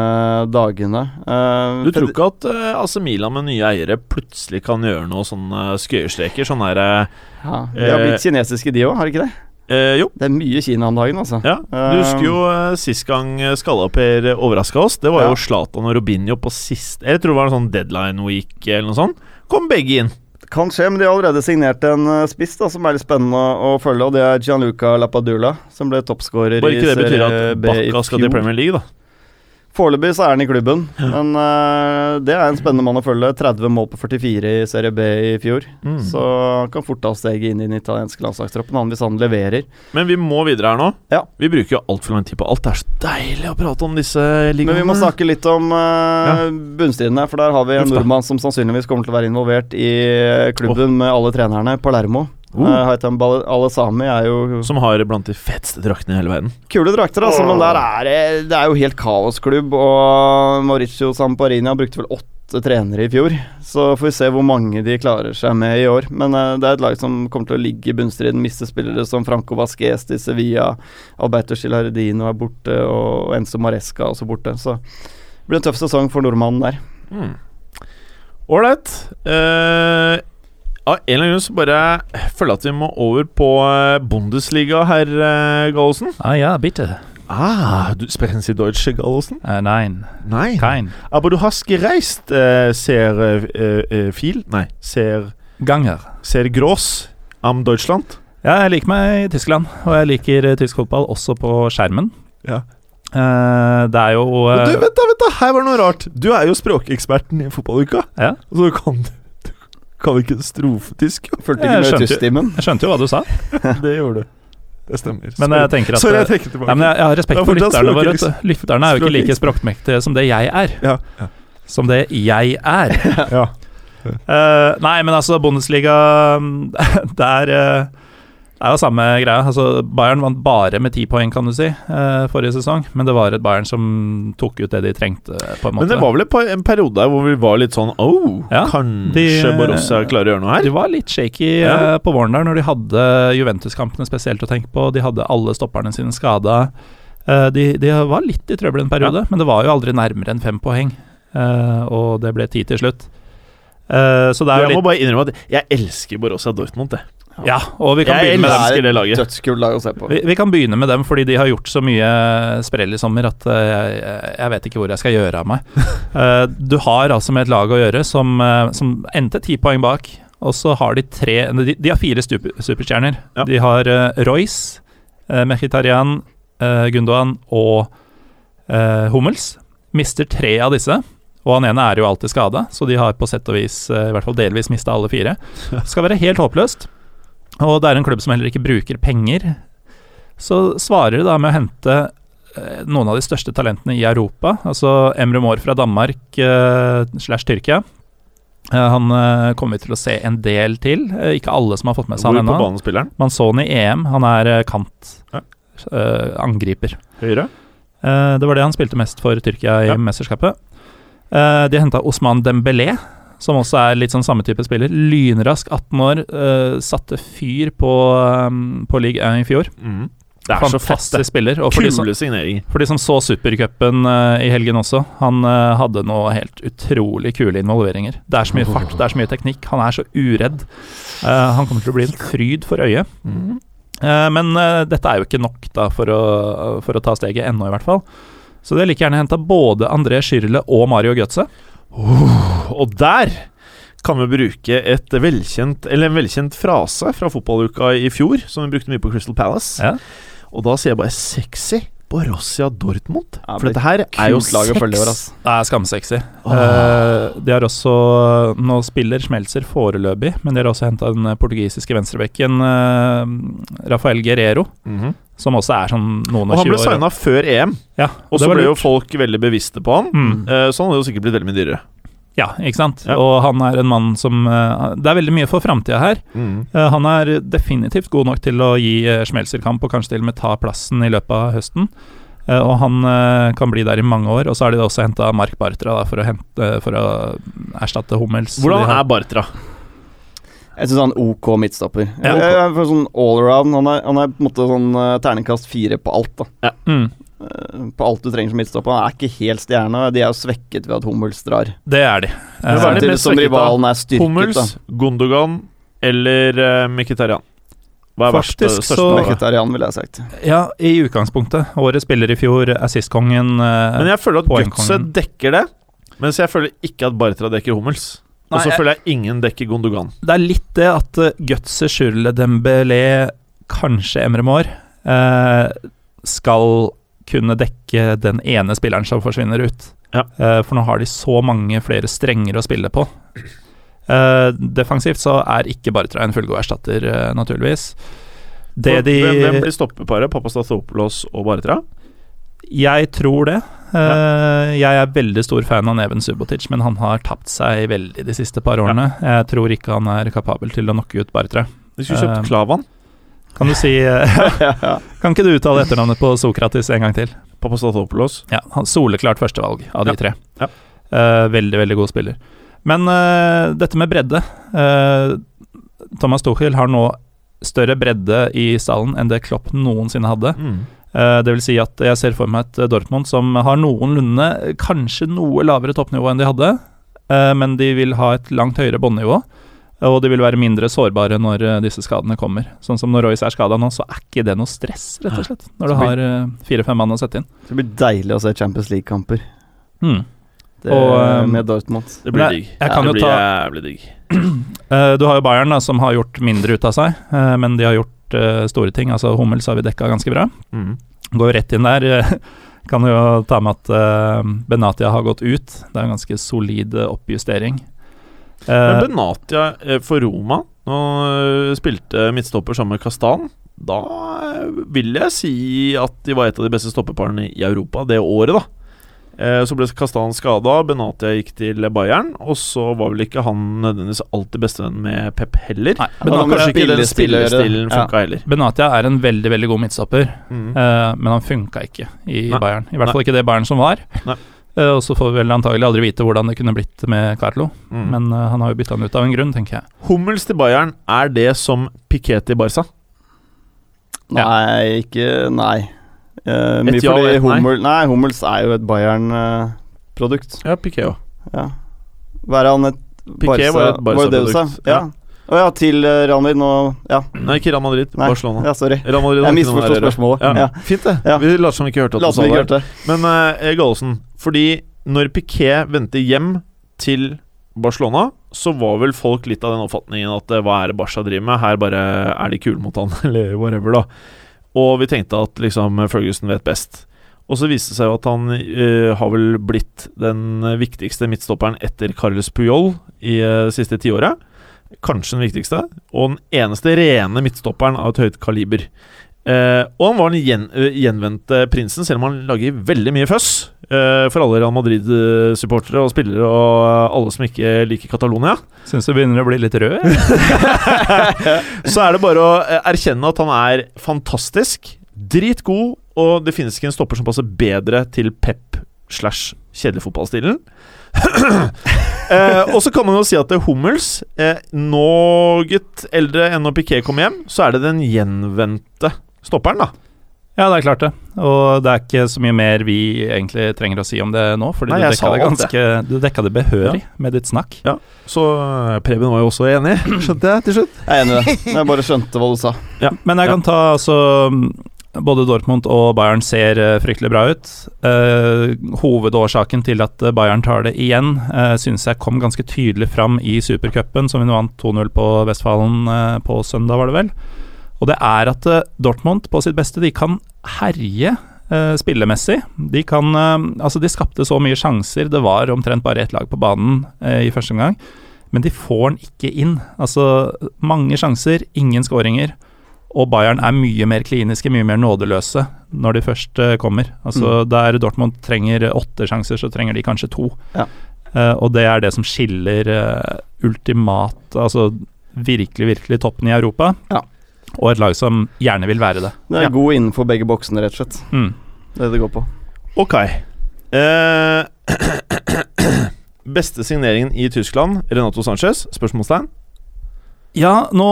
dagene. Eh, Du tror Fed- ikke at eh, AC Milan med nye eiere plutselig kan gjøre noe sånn eh, skøyestreker? Sånn her Ja, De har blitt kinesiske, de òg, har de ikke det? eh, Jo. Det er mye Kina om dagen, altså. Ja, Du husker jo eh, sist gang eh, Skalla-Per overraska oss. Det var Ja. jo Zlatan og Robinho på sist Jeg tror det var en sånn deadline week eller noe sånt. Kom begge inn. Kan skje, men de har allerede signert en eh, spiss da, som er litt spennende å å følge, og det er Gianluca Lapadula, som ble toppskårer Bare ikke det betyr at eh, B i Bakka skal til fjor. Premier League, da. Foreløpig så er han i klubben, men eh, det er en spennende mann å følge. 30 mål på 44 i Serie B i fjor, Mm. så han kan fort ta steget inn i den italienske landslagstroppen, han hvis han leverer. Men vi må videre her nå. Ja. Vi bruker jo altfor lang tid på alt. Det er så deilig å prate om disse Men ligaene. vi må snakke litt om uh, bunnstriden her, for der har vi en Uff da. nordmann som sannsynligvis kommer til å være involvert i eh, klubben med alle trenerne, Palermo. Oh. Eh, Haitham Bal- Alesami er jo Som har blant de feteste draktene i hele verden. kule drakter, altså, men der er det, det er jo helt kaosklubb. Og Mauricio Samparini han brukte vel åtte trenere i fjor, så får vi se hvor mange de klarer seg med i år. Men eh, det er et lag som kommer til å ligge i bunnstriden, miste spillere som Franco Vasques til Sevilla, Alberto Cilardino er borte, og Enzo Maresca er også borte. Så det blir en tøff sesong for nordmannen der. Ålreit. Mm. Eh, av en eller annen grunn så bare føler jeg at vi må over på eh, Bundesliga, herr eh, Gallosen. Ah ja, bitte. Ah, du sprechen Sie Deutsche, Gallosen? Eh, nein, Nei. kein. Aber du hast gereist, äh, eh, ser eh, eh, viel Nei, ser, Ganger. ser gross am Deutschland. Ja, jeg liker meg i Tyskland, og jeg liker eh, tysk fotball også på skjermen. Ja. Eh, det er jo eh, Men du, vent da, vent da, her var det noe rart. Du er jo språkeksperten i fotballuka. Ja. Og så kan du kan ikke en strofe tysk. jo. Fulgte Jeg ikke med skjønte jo- tystimen. Jeg skjønte jo hva du sa, Det gjorde du. Det stemmer. men jeg tenker at Sorry, eh, jeg trekker tilbake. Nei, men jeg jeg har respekt Det er for fortsatt lytterne våre. språkings- vet du. Lytterne er jo ikke like språkmektige som det jeg er. Ja. Som det jeg er. Ja. Eh, nei, men altså, Bundesliga mm, Der eh, det er jo samme greia. Altså, Bayern vant bare med ti poeng, kan du si, eh, forrige sesong. Men det var et Bayern som tok ut det de trengte, på en måte. Men det var vel et par, en periode der hvor vi var litt sånn Oh, Ja, kanskje de- Borussia klarer å gjøre noe her? De var litt shaky Ja. eh, på våren der når de hadde Juventus-kampene spesielt å tenke på. De hadde alle stopperne sine skada. Eh, de, de var litt i trøbbel en periode, men det var jo aldri nærmere enn fem poeng. Eh, og det ble ti til slutt. Eh, så det er Jeg må jo litt bare innrømme at jeg elsker Borussia Dortmund. Jeg, Ja, og vi kan, jeg begynne med dem. elsker elsker det laget. Dødskult lag å se på. Vi, vi kan begynne med dem fordi de har gjort så mye sprell i sommer at eh, jeg, jeg vet ikke hvor jeg skal gjøre av meg. Eh, du har altså med et lag å gjøre som, eh, som endte ti poeng bak, og så har de tre De, de har fire stup- superstjerner. Ja. De har uh, Royce, uh, Mehitarian, eh, Gundogan og eh, Hummels. Mister tre av disse, og han ene er jo alltid skada, så de har på sett og vis, eh, i hvert fall delvis, mista alle fire. Det skal være helt håpløst. Og det er en klubb som heller ikke bruker penger. Så svarer de da med å hente eh, noen av de største talentene i Europa. Altså Emre Mår fra Danmark eh, slash Tyrkia. Eh, Han eh, kommer vi til å se en del til. Eh, Ikke alle som har fått med seg Hvor han på ennå. banen spiller han? Man så han i EM. Han er eh, kant. Ja. Eh, angriper. Høyre? Eh, det var det han spilte mest for Tyrkia i Ja. mesterskapet. Eh, de henta Osman Dembélé, som også er litt sånn samme type spiller. Lynrask, 18 år, eh, satte fyr på, eh, på Ligue 1 i fjor. Mm. Det er så fast, Fantastisk det. spiller. Og for de, som, Kule signeringer. for de som så Supercupen eh, i helgen også, han eh, hadde noe helt utrolig kule involveringer. Det er så mye fart, det er så mye teknikk. Han er så uredd. Eh, han kommer til å bli en fryd for øyet. Eh, Men eh, dette er jo ikke nok da for å, for å ta steget ennå, i hvert fall. Så de har like gjerne henta både André Schürrle og Mario Götze. Og der kan vi bruke et velkjent, eller en velkjent frase fra fotballuka i fjor, som vi brukte mye på Crystal Palace. Ja. Og da sier jeg bare 'sexy Borussia Dortmund'. Ja, For det dette her er jo kult lag å følge i år, sex. ass. Det er skamsexy. Åh. Eh, de har også eh, Nå spiller Schmelzer foreløpig, men de har også henta den eh, portugisiske venstrebekken eh, Rafael Guerrero, Mhm. som også er sånn noen Og og han ble tjue år. signa før EM, Ja, og det så var ble jo lurt. folk veldig bevisste på han. mm. Eh, Så han hadde jo sikkert blitt veldig mye dyrere. Ja, ikke sant. Ja. Og han er en mann som eh, Det er veldig mye for framtida her. Eh, Han er definitivt god nok til å gi eh, Schmelzer kamp, og kanskje til og med ta plassen i løpet av høsten. Eh, Og han eh, kan bli der i mange år. Og så har de da også henta Mark Bartra da, for, å hente, eh, for å erstatte Hummels. Hvordan de er har, Bartra? Jeg syns han er OK midtstopper. Ja, Jeg- jeg er for sånn allround. Han er, han er på en måte sånn eh, terningkast fire på alt, da. mm, Eh, På alt du trenger som midtstopper. Han er ikke helt stjerne. De er jo svekket ved at Hummels drar. det er de. Men hva er Eh, det Samtidig mest som svekket av? rivalen er styrket, da. Hummels, Gundogan eller eh, Mkhitaryan? Hva er verst, eh, Faktisk største så- behovet? Mkhitaryan, ville jeg sagt. ja, i utgangspunktet. Årets spiller i fjor, assistkongen eh, Men jeg føler at poengkongen. Götze dekker det, mens jeg føler ikke at Bartra dekker Hummels. Og Nei, så jeg- føler jeg ingen dekker Gondogan. Det er litt det at eh, Götze, Schürrle, Dembélé, kanskje Emre Mår eh, skal kunne dekke den ene spilleren som forsvinner ut. Ja. Eh, for nå har de så mange flere strenger å spille på. Eh, defensivt så er ikke Bartra en fullgod erstatter, eh, naturligvis. Det de hvem, hvem blir stoppeparet? Papastatopoulos og Bartra? Jeg tror det. Eh, Jeg er veldig stor fan av Neven Subotic, men han har tapt seg veldig de siste par årene. Jeg tror ikke han er kapabel til å knocke ut Bartra. De skulle kjøpt Eh, Klavan. Kan du si eh, ja. Kan ikke du uttale etternavnet på Sokrates en gang til? Papastatopoulos. Ja, han Soleklart førstevalg av de Ja, tre. ja. Eh, veldig, veldig god spiller. Men eh, dette med bredde eh, Thomas Tuchel har nå større bredde i stallen enn det Klopp noensinne hadde. Mm. Eh, det vil si at jeg ser for meg et eh, Dortmund som har noenlunde, eh, kanskje noe lavere toppnivå enn de hadde, eh, men de vil ha et langt høyere båndnivå. Og de vil være mindre sårbare når eh, disse skadene kommer. Sånn som når Royce er skada nå, så er ikke det noe stress, rett og slett. Når du har eh, fire-fem mann å sette inn. Det blir deilig å se Champions League-kamper Mm. Det- um, Og, eh, med Dortmund. Det Men blir jeg- digg. jeg kan det jo blir ta- jævlig digg. Eh, Du har jo Bayern, da, som har gjort mindre ut av seg, eh, men de har gjort eh, store ting. Altså Hummels har vi dekka ganske bra. Mm. Går jo rett inn der. eh, Kan jo ta med at eh, Benatia har gått ut. Det er en ganske solid eh, oppjustering. Eh, Men Benatia eh, for Roma Nå eh, spilte midtstopper sammen med Kastan. Da eh, vil jeg si at de var et av de beste stoppeparene i Europa det året, da. Eh, Så ble Kastan skada, Benatia gikk til Bayern, og så var vel ikke han nødvendigvis alltid bestevenn med Pep heller. nei, Men han Benatia, Kanskje ikke den spillespiller- spillestilen ja. funka heller. Benatia er en veldig veldig god midtstopper, Mm. eh, men han funka ikke i Nei. Bayern. I hvert Nei. fall ikke det Bayern som var. Nei. Eh, og så får vi vel antagelig aldri vite hvordan det kunne blitt med Carlo, Mm. men eh, han har jo bytta han ut av en grunn, tenker jeg. Hummels til Bayern, er det som Piquet til Barca? Nei, ikke Nei. Eh, Et mye ja og fordi et nei. Hummel, nei, Hummels er jo et Bayern-produkt. Ja, Piquet òg. Ja. Være han et Piquet var et var det det du sa? Barca-produkt. Ja. Å ja, til eh, Real Madrid nå Ja, Nei, ikke Real Madrid, nei. Barcelona. Ja, sorry. Real Madrid har Jeg ikke noe misforsto der å gjøre. spørsmålet. Ja. Ja. Fint, det. Ja. Vi later som vi ikke hørte La at du oss sa ikke det. gjøre det. Men uh, Gallosen, fordi når Piquet vendte hjem til Barcelona, så var vel folk litt av den oppfatningen at eh, hva er det Barca driver med? Her bare er de kule mot han, eller whatever, da. Og vi tenkte at liksom Ferguson vet best. Og så viste det seg jo at han eh, har vel blitt den viktigste midtstopperen etter Carles Puyol i eh, siste tiåret. Kanskje den viktigste, og den eneste rene midtstopperen av et høyt kaliber. Eh, og han var den gjen, eh, gjenvendte prinsen, selv om han lager veldig mye føss eh, for alle Real Madrid-supportere og spillere og eh, alle som ikke liker Catalonia. Syns du begynner å bli litt rød? jeg. Så er det bare å eh, erkjenne at han er fantastisk, dritgod, og det finnes ikke en stopper som passer bedre til pep slash kjedelig fotballstilen. eh, og så kan man jo si at det er Hummels, eh, noe eldre enn når Piquet kom hjem, så er det den gjenvendte stopperen, da. Ja, det er klart det. Og det er ikke så mye mer vi egentlig trenger å si om det nå, fordi Nei, du jeg dekka sa det alt, ganske Du dekka det behørig med ditt snakk. Så eh, Preben var jo også enig, skjønte jeg til slutt. Jeg er enig i det. Jeg bare skjønte hva du sa. Men jeg Ja. kan ta altså mm, Både Dortmund og Bayern ser eh, fryktelig bra ut. Eh, hovedårsaken til at eh, Bayern tar det igjen, uh, syns jeg kom ganske tydelig fram i supercupen, som vi nå vant 2-0 på Vestfalen eh, på søndag, var det vel. Og det er at eh, Dortmund på sitt beste, de kan herje eh, spillemessig. De kan eh, Altså, de skapte så mye sjanser, det var omtrent bare ett lag på banen eh, i første omgang. Men de får den ikke inn. Altså, mange sjanser, ingen skåringer. Og Bayern er mye mer kliniske, mye mer nådeløse når de først eh, kommer. Altså Mm. Der Dortmund trenger åtte sjanser, så trenger de kanskje to. Ja. Eh, og det er det som skiller eh, ultimat Altså virkelig, virkelig toppen i Europa, Ja. og et lag som gjerne vil være det. Det er god innenfor begge boksene, rett og slett. Mm. Det det går på. Ok. Eh, beste signeringen i Tyskland, Renato Sanchez? Spørsmålstegn. Ja, nå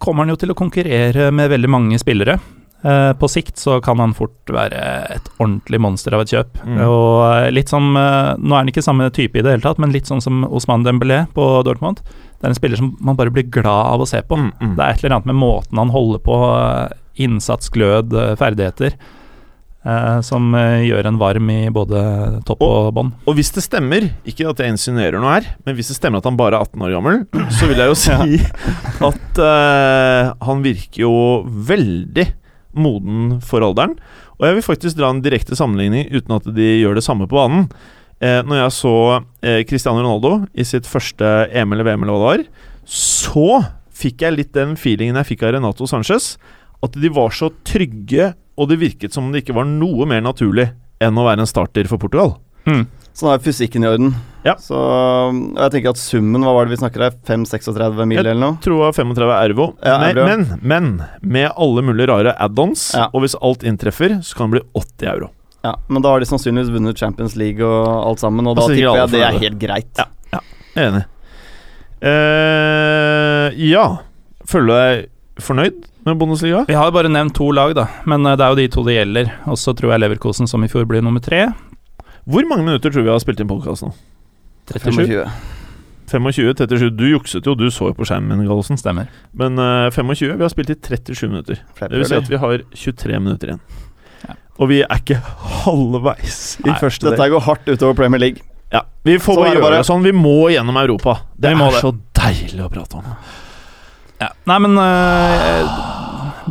kommer han jo til å konkurrere med veldig mange spillere. Eh, på sikt så kan han fort være et ordentlig monster av et kjøp. Mm. Og eh, litt som eh, Nå er han ikke samme type i det hele tatt, men litt sånn som Osman Dembélé på Dortmund. Det er en spiller som man bare blir glad av å se på. Mm, mm. Det er et eller annet med måten han holder på, eh, innsats, glød, eh, ferdigheter, eh, som eh, gjør en varm i både topp og bånn. Og hvis det stemmer, ikke at jeg insinuerer noe her, men hvis det stemmer at han bare er 18 år gammel, så vil jeg jo si at eh, han virker jo veldig moden for alderen. Og jeg vil faktisk dra en direkte sammenligning uten at de gjør det samme på banen. Eh, når jeg så eh, Cristiano Ronaldo i sitt første EM eller VM eller hva det var, så fikk jeg litt den feelingen jeg fikk av Renato Sanchez. At de var så trygge, og det virket som om det ikke var noe mer naturlig enn å være en starter for Portugal. Så nå er fysikken i orden. Ja. Så um, og jeg tenker at summen, hva var det vi snakker her? 5-36 mil Ja. eller noe? tror det var 35 euro. Ja, men, euro. men, men med alle mulige rare add-ons, Ja. og hvis alt inntreffer, så kan det bli 80 euro. Ja, men da har de sannsynligvis vunnet Champions League og alt sammen, og da Altså, ikke tipper alle jeg det er fornøyde. helt greit. Ja. Jeg er enig. Eh, ja Føler du deg fornøyd med Bundesliga? Vi har jo bare nevnt to lag, da, men eh, det er jo de to det gjelder. Og så tror jeg Leverkosen, som i fjor blir nummer tre, Hvor mange minutter tror vi har spilt inn podkast nå? 37. 25. 25-37. Du jukset jo, du så jo på skjermen min, Gallosen. Stemmer. Men eh, 25 Vi har spilt i 37 minutter. Flapper, Det vil si eller? at vi har 23 minutter igjen. Ja. Og vi er ikke halvveis i Nei, første del. Dette går hardt utover Premier League. Ja, Vi får Sånn bare er det gjøre bare. det sånn. Vi må gjennom Europa. Det Vi må er det. så deilig å prate om. Ja. Nei, men eh,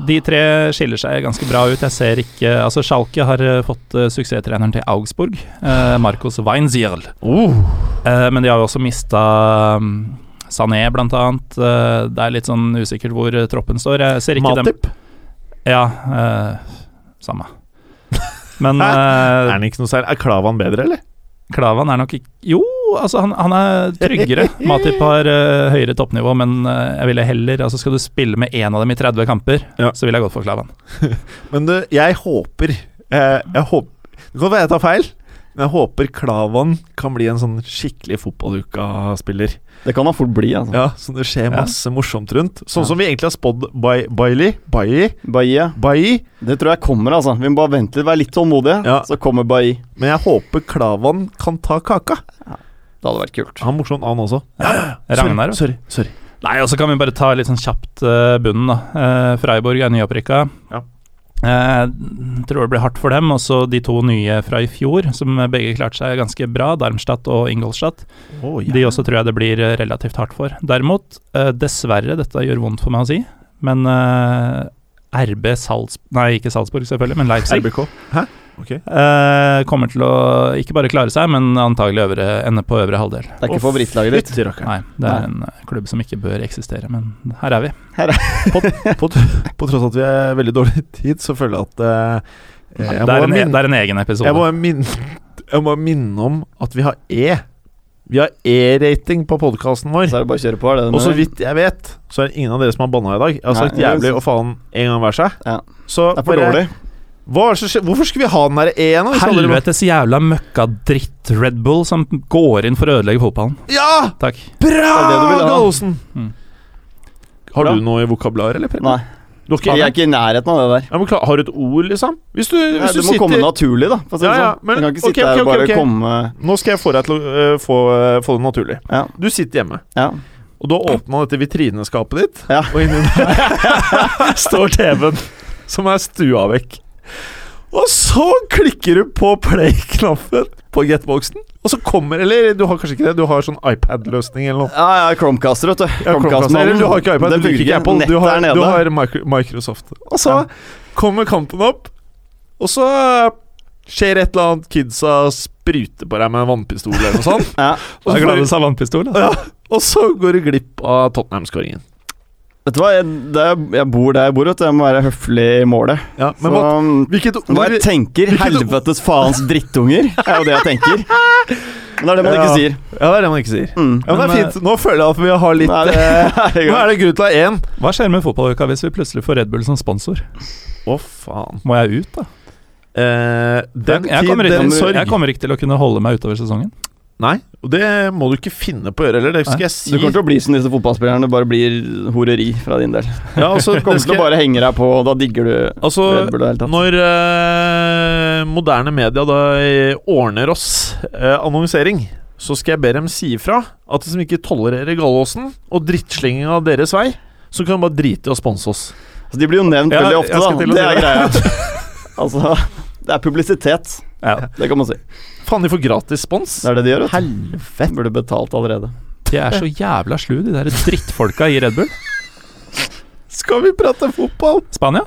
de tre skiller seg ganske bra ut. Jeg ser ikke Altså, Schalke har eh, fått eh, suksesstreneren til Augsburg, eh, Marcos Weinzierl. Oh, Eh, men de har jo også mista um, Sané, blant annet. Eh, det er litt sånn usikkert hvor eh, troppen står. Jeg ser ikke dem Matip? Ja, eh, samme. Men Er eh, han ikke noe særlig? Er Klavan bedre, eller? Klavan er nok ikke Jo, altså han, han er tryggere. Matip har eh, høyere toppnivå, men eh, jeg ville heller Altså Skal du spille med én av dem i 30 kamper, Ja. så ville jeg gått for Klavan. Men du, jeg håper eh, jeg håp- Det kan være jeg tar feil, men jeg håper Klavan kan bli en sånn skikkelig fotballuka-spiller. Det kan da fort bli, altså. Ja, Så det skjer Ja. masse morsomt rundt. Sånn Ja. som vi egentlig har spådd Bai- Bailey Bailey Bailly, Bailly. det tror jeg kommer, altså. Vi må bare vente litt, være litt tålmodige, Ja. så kommer Bailly. Men jeg håper Klavan kan ta kaka. Det hadde vært kult. Han er morsom, han også. Ragnar, Sorry. sorry, sorry. Nei, og så kan vi bare ta litt sånn kjapt eh, bunnen, da. Eh, Freiborg er nyopprykka. Ja. Eh, tror det blir hardt for dem. Og så de to nye fra i fjor, som begge klarte seg ganske bra. Darmstadt og Ingolstadt. Oh, De også tror jeg det blir eh, relativt hardt for. Derimot, eh, dessverre, dette gjør vondt for meg å si, men eh, RB Salzburg Nei, ikke Salzburg, selvfølgelig, men Leipzig. RBK. Ok. Eh, kommer til å ikke bare klare seg, men antagelig øvre, ende på øvre halvdel. Det er ikke favorittlaget ditt. Fytti rakkeren. Nei, det Nei. er en eh, klubb som ikke bør eksistere, men her er vi. På, tr- på tross av at vi er veldig dårlig tid, så føler jeg at eh, jeg, det, må er en, e- minne, det er en egen sånn. episode. jeg, må minne, jeg må minne om at vi har E. Vi har E-rating på podkasten vår. Så er det bare å kjøre på. Er det det Og så mener? vidt jeg vet, så er det ingen av dere som har banna i dag. Jeg har sagt Nei, det er jævlig sant. og faen en gang hver seg. Ja. Så det er for bare- dårlig. Hva er det som skjer? Hvorfor skulle vi ha den der E-en? da, hvis alle dere- Helvetes jævla møkkadritt Red Bull som går inn for å ødelegge fotballen. Ja! Takk. Det er det du Bra, vil ha. Gallosen! Mm. Har Bra. du noe i vokabularet, eller? Preben? Nei, Du har ikke, E? jeg er ikke i nærheten av det der. Ja, men klar, har du et ord, liksom? Hvis du, hvis Nei, du det må sitter komme naturlig, da. For å si det Ja, ja, sånn. men- Du kan ikke sitte ok, ok, der og ok, bare ok. komme Nå skal jeg få deg til å øh, få, øh, få det naturlig. Ja. Du sitter hjemme, Ja. og du har åpna dette vitrineskapet ditt, Ja. og inni der står TV-en, som er stua vekk. Og så klikker du på play-knappen på getboxen, og så kommer Eller du har kanskje ikke det, du har sånn iPad-løsning eller noe. ja, ja, Chromecaster, vet du. Ja, Chromecast, Chromecast-mannen. eller du har ikke iPad, Den du bruker ikke funker. Apple, du Nettet har, er du nede. har Micro- Microsoft. Og så kommer kampen opp, og så skjer et eller annet. Kidsa spruter på deg med en vannpistol eller noe sånt. Ja. og, så får, seg vannpistol. ja, og så går du glipp av Tottenham-skåringen. Vet du hva, jeg, det er, jeg bor der jeg bor, vet du. Jeg må være høflig i målet. Ja, Så men hva, um, hvilket hva ord jeg tenker hvilket ord- Helvetes faens drittunger, er jo det jeg tenker. Men det er det man Ja. ikke sier. Ja, det er det man ikke sier. Mm. Ja, men eh, det er Men, fint. Nå føler jeg at vi har litt Nå er det- eh, Nå er det grunn til å ha én. Hva skjer med fotballuka hvis vi plutselig får Red Bull som sponsor? Å, faen. Må jeg ut, da? Eh, den jeg, tid, kommer ikke, den jeg sorg. kommer ikke til å kunne holde meg utover sesongen. Nei, og det må du ikke finne på å gjøre heller. Det skal Nei. jeg Du si. kommer til å bli som disse fotballspillerne, det bare blir horeri fra din del. Ja, altså, Du kommer til det skal, å bare henge deg på, og da digger du altså, Red Bull i det hele tatt. Når eh, moderne media da eh, ordner oss eh, annonsering, så skal jeg be dem si ifra at de som ikke tolererer Gallåsen og drittslinginga deres vei, så kan de bare drite i å sponse oss. Altså, de blir jo nevnt Ja, veldig jeg ofte, skal da. til å Det si er greia. altså, det er publisitet. Ja, Det kan man si. Faen, de får gratis spons. Det er det de gjør, vet Helvete. du. Burde betalt allerede. De er så jævla slu, de der drittfolka i Red Bull. Skal vi prate fotball? Spania?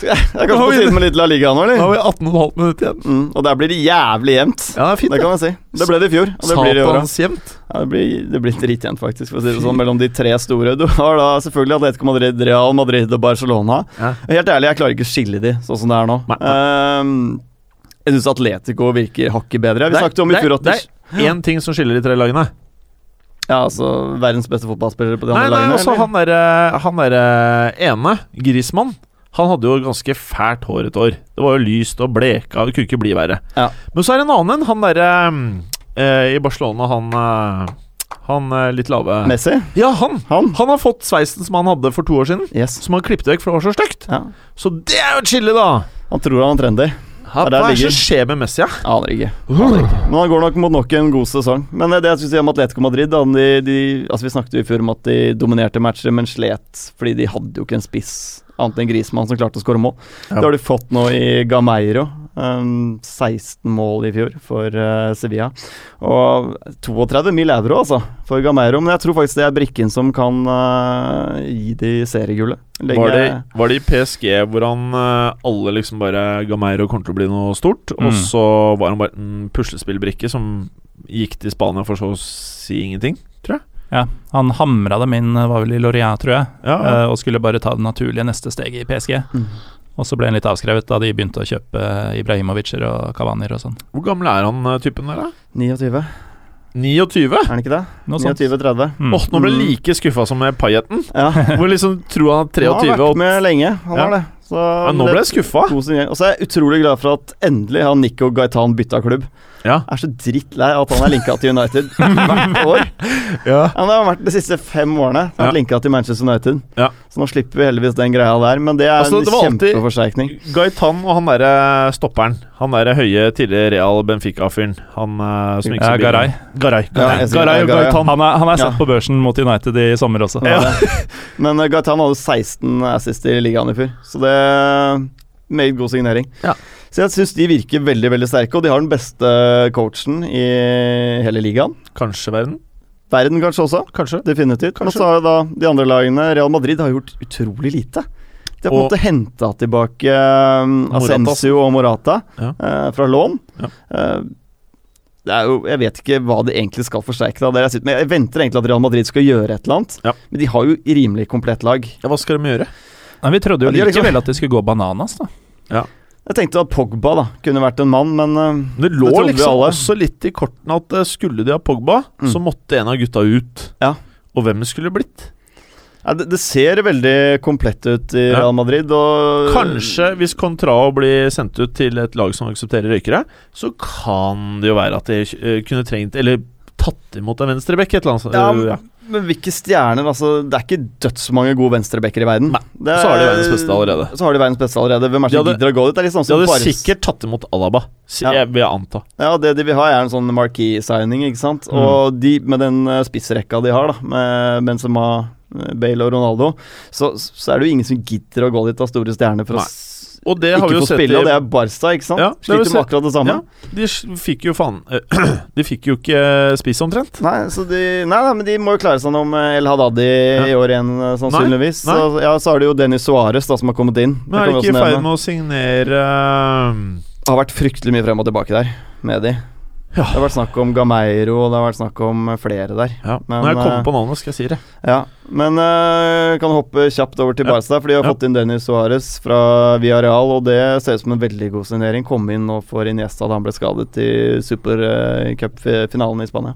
Det er Nå kanskje har på vi- tide med litt La Liga nå, Nå har eller? vi 18,5 minutter igjen. Mm, og der blir det jævlig jevnt. Ja, det er fint. Det Det kan man si. Det ble det i fjor, og det blir det i år også. Satans jevnt. Ja, det blir, det blir dritjevnt, faktisk, for å si det sånn, mellom de tre store. Du har da selvfølgelig Atletico Madrid, Real Madrid og Barcelona. Ja. Helt ærlig, jeg klarer ikke å skille de, sånn som det er nå. Nei, Ehm, jeg syns Atletico virker hakket bedre. Vi Det er- snakket om i det er- fjor at det Én ting som skiller de tre lagene. Ja, altså verdens beste fotballspillere på de Nei, altså, andre nei, lagene. også eller? han derre Han der, eh, ene, Grismann, han hadde jo ganske fælt hår et år. Det var jo lyst og bleka, det kunne ikke bli verre. Ja. Men så er det en annen en, han derre eh, i Barcelona, han eh, Han eh, litt lave Messi? Ja, han! Han? Han har fått sveisen som han hadde for to år siden, Yes. som han klippet vekk, for det var så stygt. Ja. Så det er jo et skille, da! Han tror han er trendy. Hva der er det ligger- som skjer med Messi, ja? Aner ikke. Aner ikke. Men han går nok mot nok en god sesong. Men eh, det jeg skulle si om Atletico Madrid da, de, de, altså Vi snakket jo i fjor om at de dominerte matcher, men slet fordi de hadde jo ikke en spiss annet enn Grismann som klarte å skåre mål. Ja. Det har de fått nå i Gameiro. Um, 16 mål i fjor for eh, Sevilla. Og 32 mil euro, altså, for Gameiro. Men jeg tror faktisk det er brikken som kan eh, gi de seriegullet. Legge- Var det, var det i PSG hvor han eh, alle liksom bare ga meg og kommer til å bli noe stort, og Mm. så var han bare en puslespillbrikke som gikk til Spania for så å si ingenting? Ja, han hamra dem inn, var vel i Lorient, tror jeg, Ja. eh, og skulle bare ta det naturlige neste steget i PSG. Mm. Og så ble han litt avskrevet da de begynte å kjøpe eh, Ibrahimovic'er og Kavanier og sånn. Hvor gammel er han eh, typen der, da? 29, 29? er det ikke det? Noe sånt. 29-30. Mm. Åh, nå ble jeg like skuffa som med Pajetten. Ja. Hvor liksom tror han er 23 Han har vært og med lenge, han Ja. har det. Så ja, Nå ble jeg skuffa. god signering. Og så er jeg utrolig glad for at endelig har Nico Gaetan bytta klubb. Ja. Jeg er så drittlei av at han er linka til United hvert år. Ja. Han har vært de siste fem årene har Ja. vært linka til Manchester United. Ja. Så nå slipper vi heldigvis den greia der, men det er Altså, det var en alltid- kjempeforsterkning. Gaitan og han derre stopperen. Han derre høye, tidligere Real Benfica-fyren. Han eh, som gikk Ja, så billig. Garay. Garay. Ja, jeg sier Garay det, og Garay, ja. Gaitan. Han er, han er sett Ja. på børsen mot United i sommer også. Ja. Men eh, Gaetan hadde 16 assist i ligaen i fjor, så det er meget god signering. Ja. Så jeg syns de virker veldig veldig sterke, og de har den beste coachen i hele ligaen. Kanskje verden. Verden kanskje også. Kanskje. Definitivt. Men Kanskje. så har jo da de andre lagene Real Madrid har gjort utrolig lite. De har på en Og- måte henta tilbake um, Asensio og Morata Ja. eh, fra lån. Ja. Eh, det er jo, jeg vet ikke hva de egentlig skal forsterke. Da. Det er jeg, sitter med. jeg venter egentlig at Real Madrid skal gjøre et eller annet, Ja. men de har jo rimelig komplett lag. Ja, hva skal de gjøre? Nei, vi trodde jo Ja, de har liksom- likevel at de skulle gå bananas, da. Jeg tenkte at Pogba da kunne vært en mann, men eh, Det lå Det trodde vi liksom alle. også litt i kortene at eh, skulle de ha Pogba, Mm. så måtte en av gutta ut. Ja. Og hvem skulle det blitt? ja, det, det ser veldig komplett ut i Ja. Real Madrid. Og, Kanskje hvis Contrao blir sendt ut til et lag som aksepterer røykere, så kan det jo være at de eh, kunne trengt Eller tatt imot en venstrebekk et eller annet. Ja, eh, men- Men hvilke stjerner? altså Det er ikke dødsmange gode venstrebacker i verden. Nei, Det er- så har de verdens beste allerede. Så har de verdens beste allerede Hvem er det som De hadde- gidder å gå dit? Det er litt sånn De som hadde bare- sikkert tatt imot Alaba, si- Ja. jeg vil jeg anta. Ja, det de vil ha, er en sånn marquee-signing, ikke sant. Mm. Og de, med den eh, spissrekka de har, da, med Benzema, eh, Bale og Ronaldo, så, så er det jo ingen som gidder å gå dit av store stjerner for Nei. å s- Og det har vi ikke jo få sett spille, i- og det er Barca, ikke sant? Ja, det har Sliter vi med sett. akkurat det samme. Ja, de s- fikk jo faen eh, De fikk jo ikke eh, spiss omtrent. Nei, så de, nei, nei, men de må jo klare seg om eh, El Hadadi i år igjen, eh, sannsynligvis. Nei, Så, ja, så har du jo Dennis Suárez som har kommet inn. Det Men er kan det vi ikke i også nevne. ferd med å signere um, Det har vært fryktelig mye frem og tilbake der med de. Ja. Det har vært snakk om Gameiro, og det har vært snakk om eh, flere der. ja. Men, Når jeg eh, kommer på navnet, skal jeg si det. Ja, Men øh, kan hoppe kjapt over til Ja. Barca, for de har Ja. fått inn Dennis Suárez fra Villarreal, og det ser ut som en veldig god signering. Kom inn nå for Iniesta da han ble skadet i eh, supercupfinalen i Spania.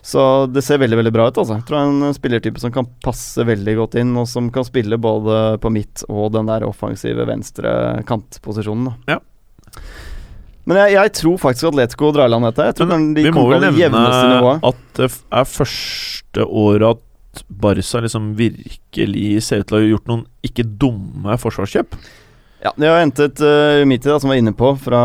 Så det ser veldig veldig bra ut. altså. Jeg tror han er en spillertype som kan passe veldig godt inn, og som kan spille både på midt og den der offensive venstre kantposisjonen. da. Ja. Men jeg, jeg tror faktisk Atletico drar i land dette. Jeg tror Men kan de vi må kommer på vel det jevneste nevne nivået. at det f- er første året at Barca liksom virkelig ser ut til å ha gjort noen ikke dumme forsvarskjøp. Ja, De har hentet uh, Miti, da, som var inne på, fra,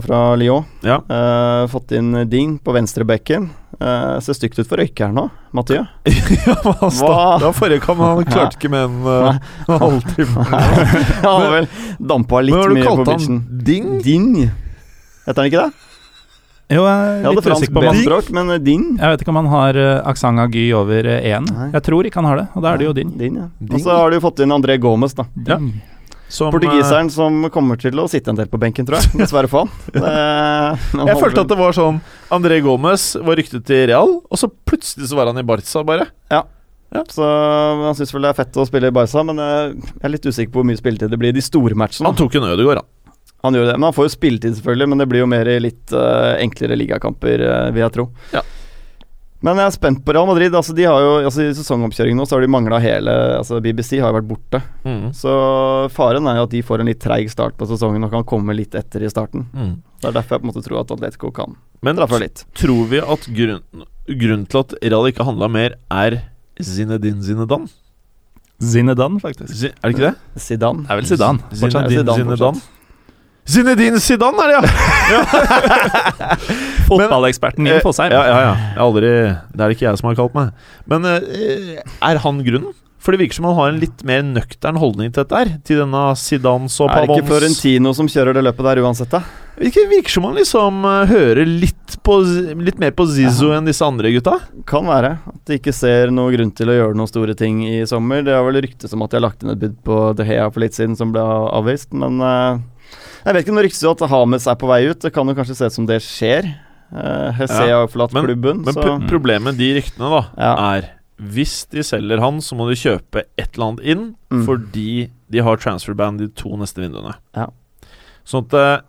fra Lyon. Ja. Eh, fått inn Ding på venstrebekken. Uh, ser stygt ut for røykeren nå, Mathieu. ja, han starta forrige kamp, men han klarte klarte ikke med en eh, halvtime. Han har vel dampa litt Men har du mye på kalt han pitchen. Ding? Ding? Heter han ikke det? Jo, Jeg jeg er hadde litt fransk usikker på om han benspråk, men eh, Ding Jeg vet ikke om han har uh, aksent av Gy over eh, en. Nei. Jeg tror ikke han har det, og da er det jo din. ja. Ding. Og så har du fått inn André Gomez, da. Ja. Ding. Som, eh, Portugiseren som kommer til å sitte en del på benken, tror jeg. Dessverre for han. Jeg følte at det var sånn André Gomez var ryktet til Real, og så plutselig så var han i Barca, bare. Så Han syns vel det er fett å spille i Barca, men eh, jeg er litt usikker på hvor mye spilletid det blir i de store matchene. Han tok en Ødegaard, han. Han gjør det, men han får jo spilletid selvfølgelig, men det blir jo mer i litt eh, enklere ligakamper, eh, vil jeg tro. Ja. Men jeg er spent på Real Madrid. Altså, de har jo, altså, I sesongomkjøringen nå så har de mangla hele altså, BBC har jo vært borte. Mm. Så faren er jo at de får en litt treig start på sesongen og kan komme litt etter i starten. Mm. Det er derfor jeg på en måte tror at Atletico kan Men dra fra litt. tror vi at grunnen, grunnen til at Real ikke handla mer, er Zinedine Zinedan? Zinedan, faktisk. Zin, er det ikke det? Zidane. Det er vel Zidane. Zinedine Fortsatt Zidane, Zinedan. Zinedine Zidane er det, ja! Eh, Fotballeksperten Eh, Ine Fosheim. Ja, ja, ja. Jeg har aldri, det er det ikke jeg som har kalt meg. Men eh, er han grunnen? For det virker som han har en litt mer nøktern holdning til dette her. Til denne Zidans og Er det ikke Pavons Florentino som kjører det løpet der uansett, da? Virker, virker som han liksom eh, hører litt, på, Z- litt mer på Zizzo enn disse andre gutta. Kan være. At de ikke ser noen grunn til å gjøre noen store ting i sommer. Det er vel ryktes om at de har lagt inn et bud på De Hea for litt siden, som ble avvist. Men eh, jeg vet ikke om det ryktes jo at Hames er på vei ut. Det kan jo kanskje se ut som det skjer. Uh, Hesse har forlatt men- klubben, Men så pro- problemet med de ryktene da Ja. er hvis de selger han, så må de kjøpe et eller annet inn, Mm. fordi de har transferband de to neste vinduene. Ja. Sånn at eh,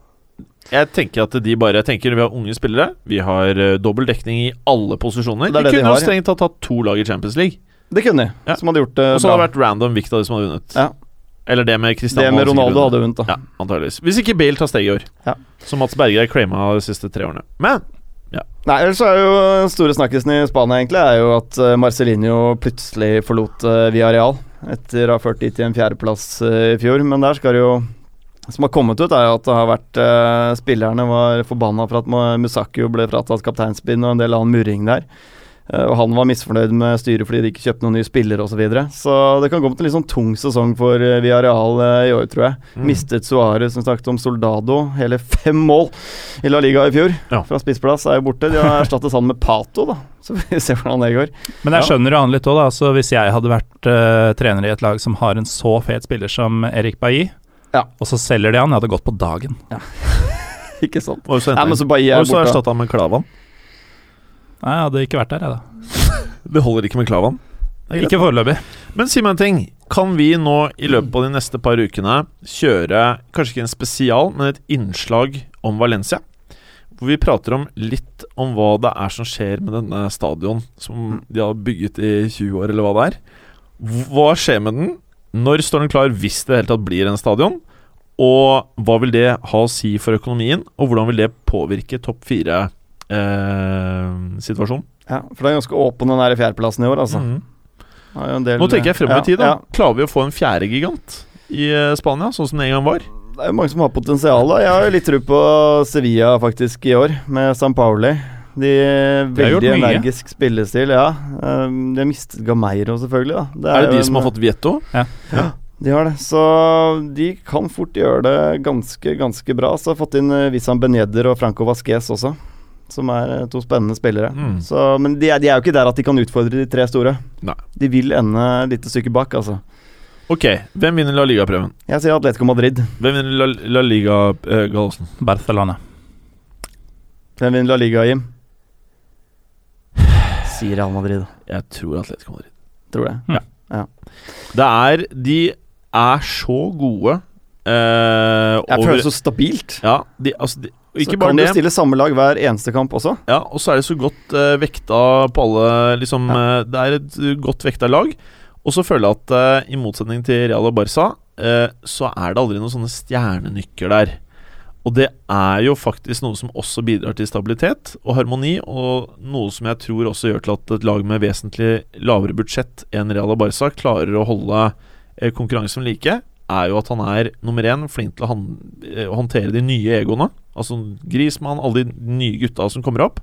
jeg tenker at de bare jeg tenker Vi har unge spillere, vi har uh, dobbel dekning i alle posisjoner. Det er De det de kunne har, jo strengt tatt hatt to lag i Champions League. det kunne de. Ja. Som hadde gjort det Og så hadde Eh, bra. det vært random hvilket av de som hadde vunnet. Ja. Eller det med Cristiano. Det med hadde sikkert Ronaldo vunnet. hadde vunnet, da. Ja, antageligvis. Hvis ikke Bale tar steget i år. Ja. Som Mats Berger claima de siste tre årene. Men Nei, ellers er jo den store snakkisen i Spania egentlig er jo at eh, Marcelinho plutselig forlot eh, Villarreal etter å ha ført de til en fjerdeplass eh, i fjor. Men der skal det jo som har kommet ut, er jo at det har vært eh, Spillerne var forbanna for at Ma- Musakio ble fratatt kapteinspinn og en del annen murring der. Eh, Og han var misfornøyd med styret fordi de ikke kjøpte noen nye spillere osv. Så, videre. så det kan gå til en litt sånn tung sesong for eh, Villarreal eh, i år, tror jeg. mm. Mistet Suárez, som snakket om Soldado. Hele fem mål i La Liga i fjor. Ja. Fra spissplass er jo borte. De har erstattet han med Pato, da. Så vi ser hvordan det går. Men jeg Ja. skjønner jo han litt òg, da. Altså, hvis jeg hadde vært eh, trener i et lag som har en så fet spiller som Erik Bailly, Ja. og så selger de han, jeg hadde gått på dagen. Ikke sant? Og så Nei, men henter så Bailly han- er og så borte. erstatta han med Klavan. Nei, jeg hadde ikke vært der, jeg, da. Det holder ikke med Klavan. Det er greit. Ikke foreløpig. Men si meg en ting. Kan vi nå i løpet av de neste par ukene kjøre kanskje ikke en spesial, men et innslag om Valencia? Hvor vi prater om litt om hva det er som skjer med denne stadion Mm. som de har bygget i 20 år, eller hva det er. Hva skjer med den? Når står den klar, hvis det i det hele tatt blir en stadion? Og hva vil det ha å si for økonomien, og hvordan vil det påvirke topp eh, fire-situasjonen? Ja, for det er ganske åpen, den der fjerdeplassen i år, altså. Har jo en del- Mm. Nå tenker jeg fremover i tid. da Ja, ja. Klarer vi å få en fjerde gigant i eh, Spania, sånn som det en gang var? Det er jo mange som har potensial. da Jeg har jo litt tro på Sevilla faktisk i år, med San Pauli. De har gjort veldig mye. energisk spillestil, ja. Um, De har mistet Gameiro, selvfølgelig. da Er det jo de som en- har fått Vietto? De har det. Så de kan fort gjøre det ganske, ganske bra. Så har jeg fått inn eh, Wissam Beneder og Franco Vasquez også, som er eh, to spennende spillere. Mm. Så, men de er, de er jo ikke der at de kan utfordre de tre store. Nei. De vil ende et lite stykke bak, altså. Ok, hvem vinner La Liga-prøven? Jeg sier Atletico Madrid. Hvem vinner La, La Liga, eh, Gallosen? Barcelona. Hvem vinner La Liga, Jim? Sier Real Madrid, da. Jeg tror Atletico Madrid. tror det. Det er De er så gode eh, Jeg over- føler det så stabilt. Ja, de, altså de, og Så ikke kan bare du det, stille samme lag hver eneste kamp også. ja, og så er det så godt eh, vekta på alle liksom, eh, Det er et eh, godt vekta lag. Og så føler jeg at eh, i motsetning til Real og Barca, eh, så er det aldri noen sånne stjernenykker der. Og det er jo faktisk noe som også bidrar til stabilitet og harmoni, og noe som jeg tror også gjør til at et lag med vesentlig lavere budsjett enn Real og Barca klarer å holde eh, konkurransen like, er jo at han er nummer én flink til å han, eh, håndtere de nye egoene. Altså Grismann, alle de nye gutta som kommer opp.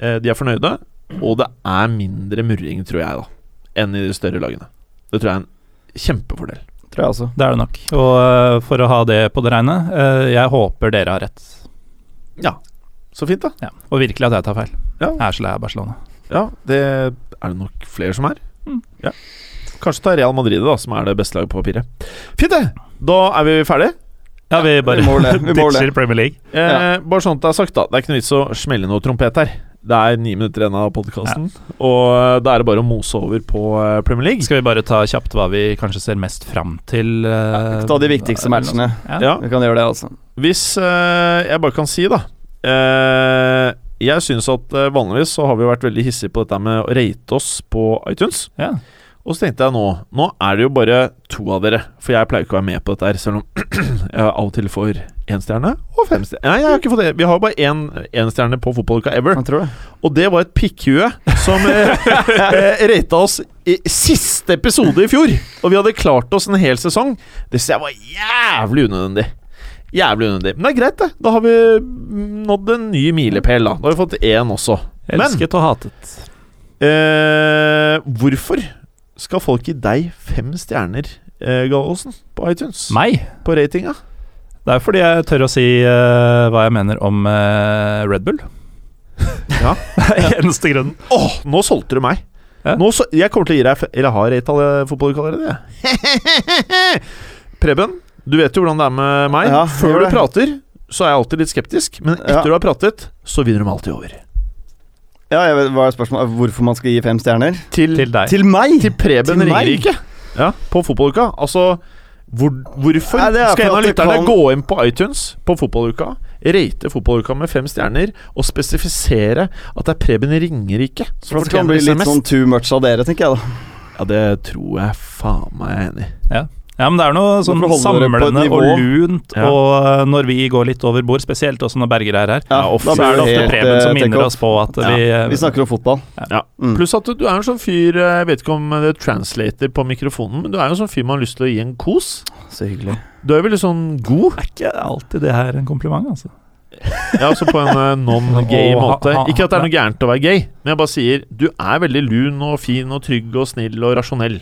Eh, de er fornøyde, og det er mindre murring, tror jeg, da, enn i de større lagene. Det tror jeg er en kjempefordel. Tror jeg også. Det er det nok. Og eh, for å ha det på det reine, eh, jeg håper dere har rett. Så fint, da. Ja. Og virkelig at jeg tar feil. Ja. Jeg er så lei av Barcelona. Ja, det er det nok flere som er. Mm. Ja. Kanskje ta Real Madrid, da, som er det beste laget på papiret. Fint, det! Da er vi ferdige. Ja, vi bare Vi må det. Vi må det. ditcher Premier League. Eh, Ja. Bare sånn at det er sagt, da. Det er ikke noe vits å smelle noe trompet her. Det er ni minutter igjen av podkasten, og eh, da er det bare å mose over på eh, Premier League. Skal vi bare ta kjapt hva vi kanskje ser mest fram til? eh, Ta de viktigste matchene. Ja. Ja. Vi kan gjøre det, altså. Hvis eh, jeg bare kan si, da eh, Jeg syns at eh, vanligvis så har vi vært veldig hissige på dette med å rate oss på iTunes. Ja. Og så tenkte jeg nå Nå er det jo bare to av dere, for jeg pleier ikke å være med på dette her, selv om jeg av og til får én stjerne og fem stjerner. Nei, jeg har ikke fått det. Vi har jo bare én én stjerne på Fotballuka ever. Jeg tror det. Og det var et pikkhue som eh, eh, rata oss i siste episode i fjor. Og vi hadde klart oss en hel sesong. Det synes jeg var jævlig unødvendig. Jævlig unødvendig. Men det er greit, det. Da har vi mm, nådd en ny milepæl, da. Da har vi fått én også. Men Elsket og hatet. eh, hvorfor skal folk gi deg fem stjerner, eh, Gallosen, på iTunes? Meg? På ratinga? Det er fordi jeg tør å si eh, hva jeg mener om eh, Red Bull. Ja. Eneste grunnen. Åh, nå solgte du meg. Ja. Nå så, jeg kommer til å gi deg f- Eller har rata fotball allerede, jeg. Preben, du vet jo hvordan det er med meg. Ja, Før gjør du det. prater, så er jeg alltid litt skeptisk. Men etter Ja. du har pratet, så vinner de alltid over. Ja, jeg vet, hva er spørsmålet? Hvorfor man skal gi fem stjerner? Til, Til deg. Til meg! til til Preben meg? Ringerike. Ja, på fotballuka. Altså hvor, Hvorfor Nei, det er skal for en av at det lytterne kan- gå inn på iTunes på fotballuka, rate fotballuka med fem stjerner og spesifisere at det er Preben Ringerike For det som kan fortjener bli disse litt mest? sånn too much av dere, tenker jeg da. Ja, det tror jeg faen meg jeg er enig i. Ja, men det er noe sånn Hvorfor holder dere på et samlende og lunt, Ja. og eh, når vi går litt over bord, spesielt også når Berger er her, Ja, ofte da så er det blir ofte helt, Preben eh, som take minner off. oss på at Ja, vi, eh, Vi snakker om fotball. Ja. Mm. Pluss at du, du er en sånn fyr eh, Jeg vet ikke om det er translator på mikrofonen, men du er jo en sånn fyr man har lyst til å gi en kos. Så hyggelig. Du er jo veldig sånn god. er ikke alltid det her en kompliment, altså. Ja, altså på en eh, non-gay Og ha- måte. ha- Ikke at det er noe gærent å være gay, men jeg bare sier du er veldig lun og fin og trygg og snill og rasjonell.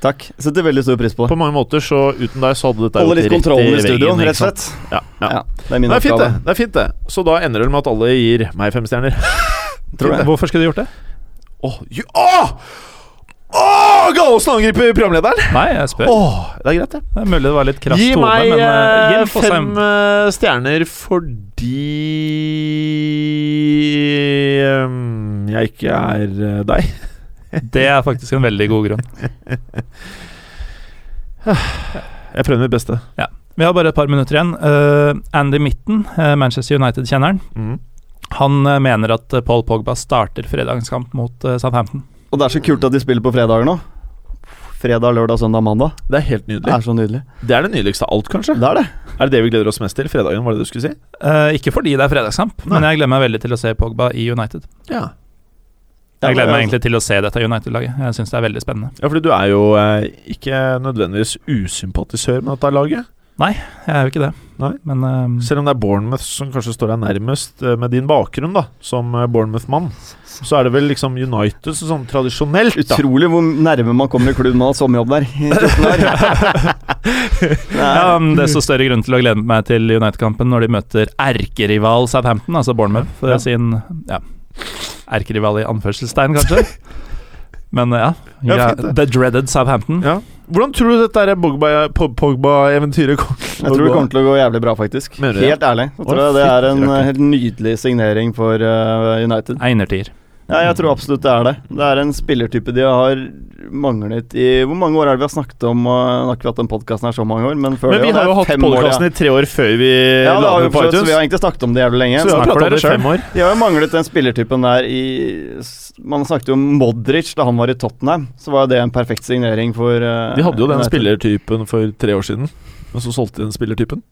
Takk. Setter veldig stor pris på det. På mange måter, så uten deg så hadde dette Holde gått litt rett kontrollen i veggen, studio, ikke rett og sant? slett. Ja, ja. Ja, det er min Det er fint, oppgave. det. det er fint det Så da ender det med at alle gir meg fem stjerner. Tror det. Hvorfor skulle du gjort det? Åh, ju- Åh! Åh, Gallosen angriper programlederen! Nei, jeg spør. Åh, det er greit, det. Det er mulig det var litt krass Gi tone, meg men eh, eh, Jim Fosheim fem eh, stjerner fordi ehm, jeg ikke er eh, deg. Det er faktisk en veldig god grunn. Jeg prøver mitt beste. Vi har bare et par minutter igjen. Eh, Andy Mitten, eh, Manchester United-kjenneren, Mm. han eh, mener at eh, Paul Pogba starter fredagskamp mot eh, Southampton. Og det er så kult at de spiller på fredager nå. Fredag, lørdag, søndag, mandag. Det er helt Det nydelig. er så nydelig. Det er det nydeligste av alt, kanskje. Det er det. Er det det vi gleder oss mest til? Fredagen, var det det du skulle si? Eh, ikke fordi det er fredagskamp, men Nei. jeg gleder meg veldig til å se Pogba i United. Ja, Ja, Jeg gleder meg det er- egentlig til å se dette United-laget. Jeg syns det er veldig spennende. ja fordi du er jo eh, ikke nødvendigvis usympatisør med dette laget. Jeg er jo ikke det, Nei. men eh, Selv om det er Bournemouth som kanskje står deg nærmest, eh, med din bakgrunn da som eh, Bournemouth-mann, så er det vel liksom United så sånn tradisjonelt, da. Utrolig hvor nærme man kommer i klubben man har sommerjobb der. i 14 år. ja, Nei, men Desto større grunn til å glede meg til United-kampen når de møter erkerival Southampton, altså Bournemouth, for sin ja, erkerival i anførselstegn, kanskje. Men ja, Ja, ja, fint det. The dreaded Southampton. Ja. Hvordan tror du dette der Pogba- Po- Pogba-eventyret kommer til jeg å tror det gå? kommer til å gå jævlig bra, faktisk. Mener du det? Helt ærlig. Jeg Å, tror jeg det er en fytti rakkeren. eh, helt nydelig signering for eh, United. Einertier. Ja, jeg tror absolutt det er det. Det er en spillertype de har manglet i Hvor mange år er det vi har snakket om? Og jeg har ikke hatt den podkasten her så mange år, men før Men vi det, har det jo er hatt fem år, podkasten i tre år før vi Ja, det la har vi, den på forstått, så iTunes. vi har egentlig snakket om det jævlig lenge. Så vi har Snakk for pratet om dere det i fem år. De har jo manglet den spillertypen der i s- Man snakket jo om Modric da han var i Tottenham. Så var jo det en perfekt signering for eh, De hadde jo den United. spillertypen for tre år siden, men så solgte de den spillertypen.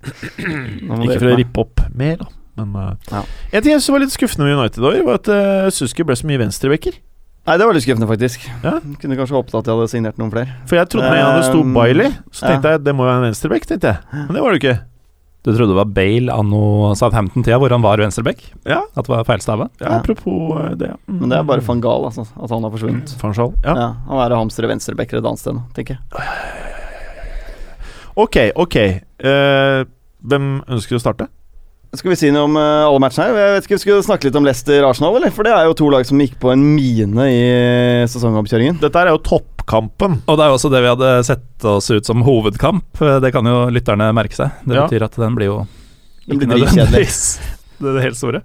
Nå må Ikke dere for hjelpe å meg. rippe opp mer, da. Men eh, Ja. En ting jeg synes var litt skuffende med United i år, var at uh, Suski ble så mye venstrebacker. Nei, det var litt skuffende, faktisk. Ja. Kunne kanskje håpet at de hadde signert noen flere. For jeg trodde med en gang det sto Um, Bailey, så ja. tenkte jeg det må jo være en venstrebekk, tenkte jeg. Men det var det jo ikke. Du trodde det var Bale anno Southampton-tida, hvor han var venstreback? Ja. At det var feilstava? Ja, Ja. Apropos eh, det. Mm. Men det er bare van Gaal, altså, at han har forsvunnet. Fanchal. Ja. Ja. han er å hamstre venstrebacker et annet sted, nå, tenker jeg. Ok, ok. Eh, hvem ønsker å starte? Skal vi si noe om eh, alle matchene her? Jeg vet ikke, vi Skulle snakke litt om Leicester-Arsenal, eller? For det er jo to lag som gikk på en mine i eh, sesongoppkjøringen. Dette her er jo toppkampen. Og det er jo også det vi hadde sett oss ut som hovedkamp. Det kan jo lytterne merke seg. Det Ja. betyr at den blir jo Det blir ikke dritkjedelig. nødvendigvis Det er det helt store.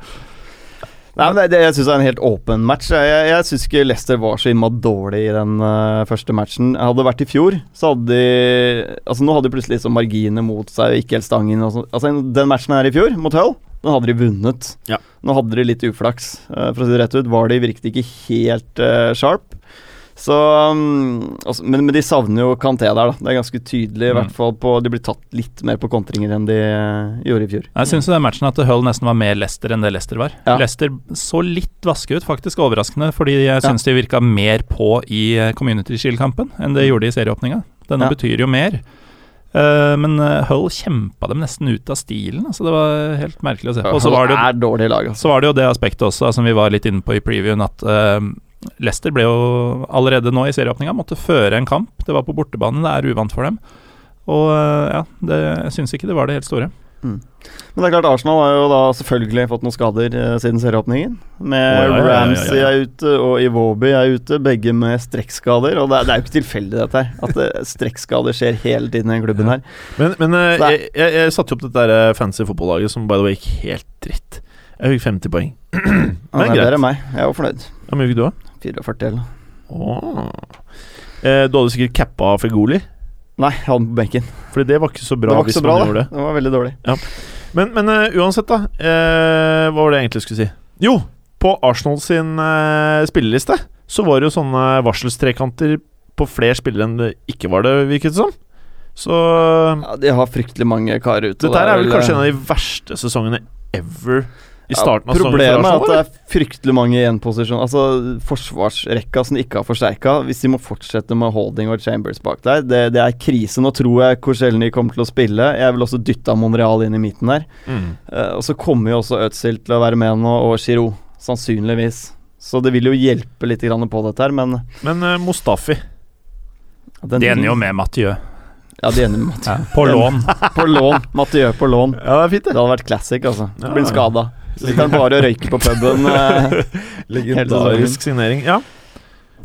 Nei, men det, det, Jeg syns det er en helt åpen match. Jeg, jeg, jeg syns ikke Leicester var så innmari dårlig i den eh, første matchen. Hadde det vært i fjor, så hadde de Altså Nå hadde de plutselig liksom marginer mot seg og ikke helt stangen. Og sånn. altså Den matchen her i fjor, mot Hull, den hadde de vunnet. Ja. Nå hadde de litt uflaks, eh, for å si det rett ut. Var de virkelig ikke helt eh, sharp? Så, mm, altså, men, men de savner jo Kanté der, da. Det er ganske tydelig. I Mm. hvert fall på, De blir tatt litt mer på kontringer enn de eh, gjorde i fjor. Jeg syns den matchen at Hull nesten var mer Leicester enn det Leicester var. Ja. Leicester så litt vaske ut, faktisk overraskende, fordi jeg syns de virka mer på i eh, Community Shield-kampen enn det gjorde i serieåpninga. Denne Mm. Ja. betyr jo mer. Eh, men eh, Hull kjempa dem nesten ut av stilen. Altså det var helt merkelig å se på. Og så var det jo er dårlig i lag, altså. Så var det jo det aspektet også altså, som vi var litt inne på i previewen, at eh, Leicester ble jo allerede nå i serieåpninga måtte føre en kamp. Det var på bortebane, det er uvant for dem. Og eh, ja, det, jeg syns ikke det var det helt store. Men det er klart Arsenal har jo da selvfølgelig fått noen skader eh, siden serieåpningen. Med Å, ja, ja, ja, ja, ja. Ramsey er ute og Iwobi er ute, begge med strekkskader. Og det er, det er jo ikke tilfeldig dette her, at eh, strekkskader skjer hele tiden i den klubben her. Men, men eh, Nei. jeg, jeg, jeg satte jo opp dette der eh, fancy fotballaget som by the way gikk helt dritt. Jeg fikk 50 poeng. Men det greit. er bedre enn meg. Jeg er jo fornøyd. Hvor mye fikk du, da? 44 eller noe. Åh. Eh, du hadde sikkert cappa Fegoli, Nei, jeg hadde den på benken. Fordi det var ikke så bra. det var ikke hvis så bra, man da. gjorde det. Det var veldig dårlig. Men, men eh, uansett, da. eh, hva var det jeg egentlig skulle si? Jo, på Arsenal sin eh, spilleliste så var det jo sånne varselstrekanter på flere spillere enn det ikke var det, virket det som. Så Ja, de har fryktelig mange karer ute. og dette her er vel eh, kanskje en av de verste sesongene ever i starten av ja, Problemet er at det sesongen. er fryktelig mange i en posisjon. Altså Forsvarsrekka som de ikke har forsterka. Hvis de må fortsette med Holding og Chambers bak der, det, det er krise. Nå tror jeg Korselny kommer til å spille. Jeg vil også dytte Monreal inn i midten der. Mm. Eh, og så kommer jo også Özil til å være med nå, og Giroud. Sannsynligvis. Så det vil jo hjelpe litt grann på dette her, men Men eh, Mustafi den, De ender jo med Mathieu. Ja, de ender med Mathieu. På lån. På lån. Mathieu på lån. Ja, det er fint, Det hadde vært classic, altså. Ja. Blir skada. Sitter han bare og røyker på puben. eh. Legendarisk signering. Ja.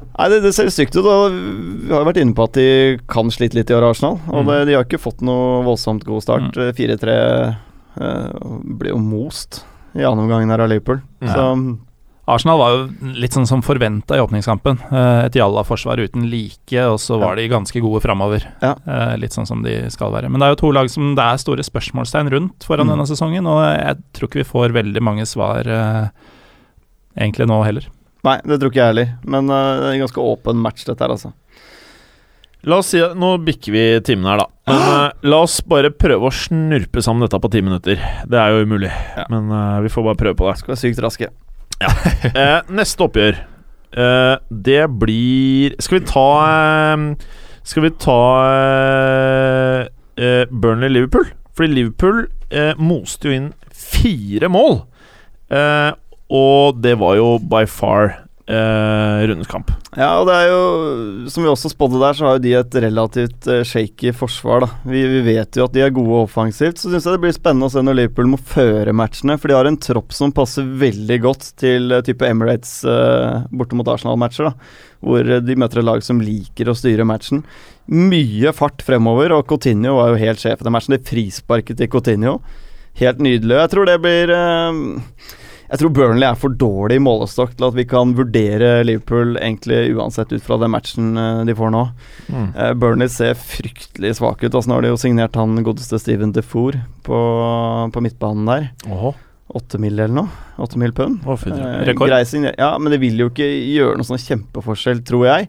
Nei, det, det ser stygt ut. og Vi har jo vært inne på at de kan slite litt i år, Arsenal. Og Mm. det, de har ikke fått noe voldsomt god start. 4-3 eh, ble jo most i andre omgang der av Liverpool. Ja. Så Arsenal var jo litt sånn som forventa i åpningskampen. Eh, Et jalla-forsvar uten like, og så var de ganske gode framover. Ja. Eh, Litt sånn som de skal være. Men det er jo to lag som det er store spørsmålstegn rundt foran Mm. denne sesongen, og jeg tror ikke vi får veldig mange svar eh, egentlig nå heller. Nei, det tror ikke jeg heller. Men eh, det er en ganske åpen match, dette her, altså. La oss si at Nå bikker vi timen her, da. Men Ah! eh, la oss bare prøve å snurpe sammen dette på ti minutter. Det er jo umulig, Ja. men eh, vi får bare prøve på det. Skal være sykt raske. Eh, neste oppgjør, eh, det blir Skal vi ta eh, Skal vi ta eh, eh, Burnley-Liverpool? Fordi Liverpool eh, moste jo inn fire mål. Eh, og det var jo by far eh, rundens kamp. Ja, og det er jo Som vi også spådde der, så har jo de et relativt eh, shaky forsvar, da. Vi, vi vet jo at de er gode offensivt, så syns jeg det blir spennende å se når Liverpool må føre matchene. For de har en tropp som passer veldig godt til eh, type Emirates eh, borte mot Arsenal-matcher, da. Hvor eh, de møter et lag som liker å styre matchen. Mye fart fremover, og Coutinho var jo helt sjef i den matchen. Det frisparket til Coutinho. Helt nydelig. og Jeg tror det blir eh, jeg tror Burnley er for dårlig i målestokk til at vi kan vurdere Liverpool egentlig uansett ut fra den matchen eh, de får nå. Mm. Eh, Burnley ser fryktelig svake ut. Altså, nå har de jo signert han godeste Steven Defour på, på midtbanen der. Åhå, Åtte mil eller noe. Åtte mil pund. å, fy dra- Eh, Rekord. grei signer- Ja, men det vil jo ikke gjøre noen sånn kjempeforskjell, tror jeg.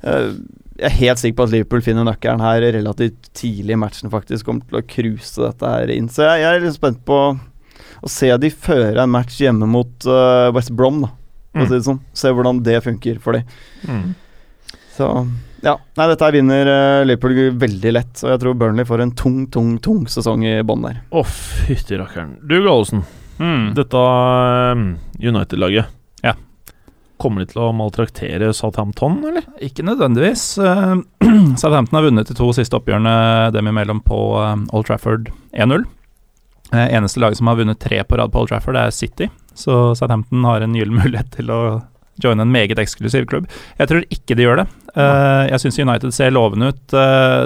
Eh, jeg er helt sikker på at Liverpool finner nøkkelen her relativt tidlig i matchen, faktisk. Kommer til å cruise dette her inn. Så jeg, jeg er litt spent på å se de føre en match hjemme mot eh, West Brom, da. for å Mm. Si det sånn. Se hvordan det funker for de. Mm. Så ja. Nei, dette her vinner eh, Liverpool veldig lett. Og jeg tror Burnley får en tung, tung, tung sesong i bånn der. Å, fytti rakkeren. Du, Gallosen. Mm. Dette eh, United-laget. Ja. Kommer de til å maltraktere Southampton, eller? Ikke nødvendigvis. Eh, Southampton har vunnet de to siste oppgjørene dem imellom på eh, Old Trafford 1-0. Eh, Eneste laget som har vunnet tre på rad på Old Trafford, er City. Så Southampton har en gyllen mulighet til å joine en meget eksklusiv klubb. Jeg tror ikke de gjør det. Eh, Jeg syns United ser lovende ut. Eh,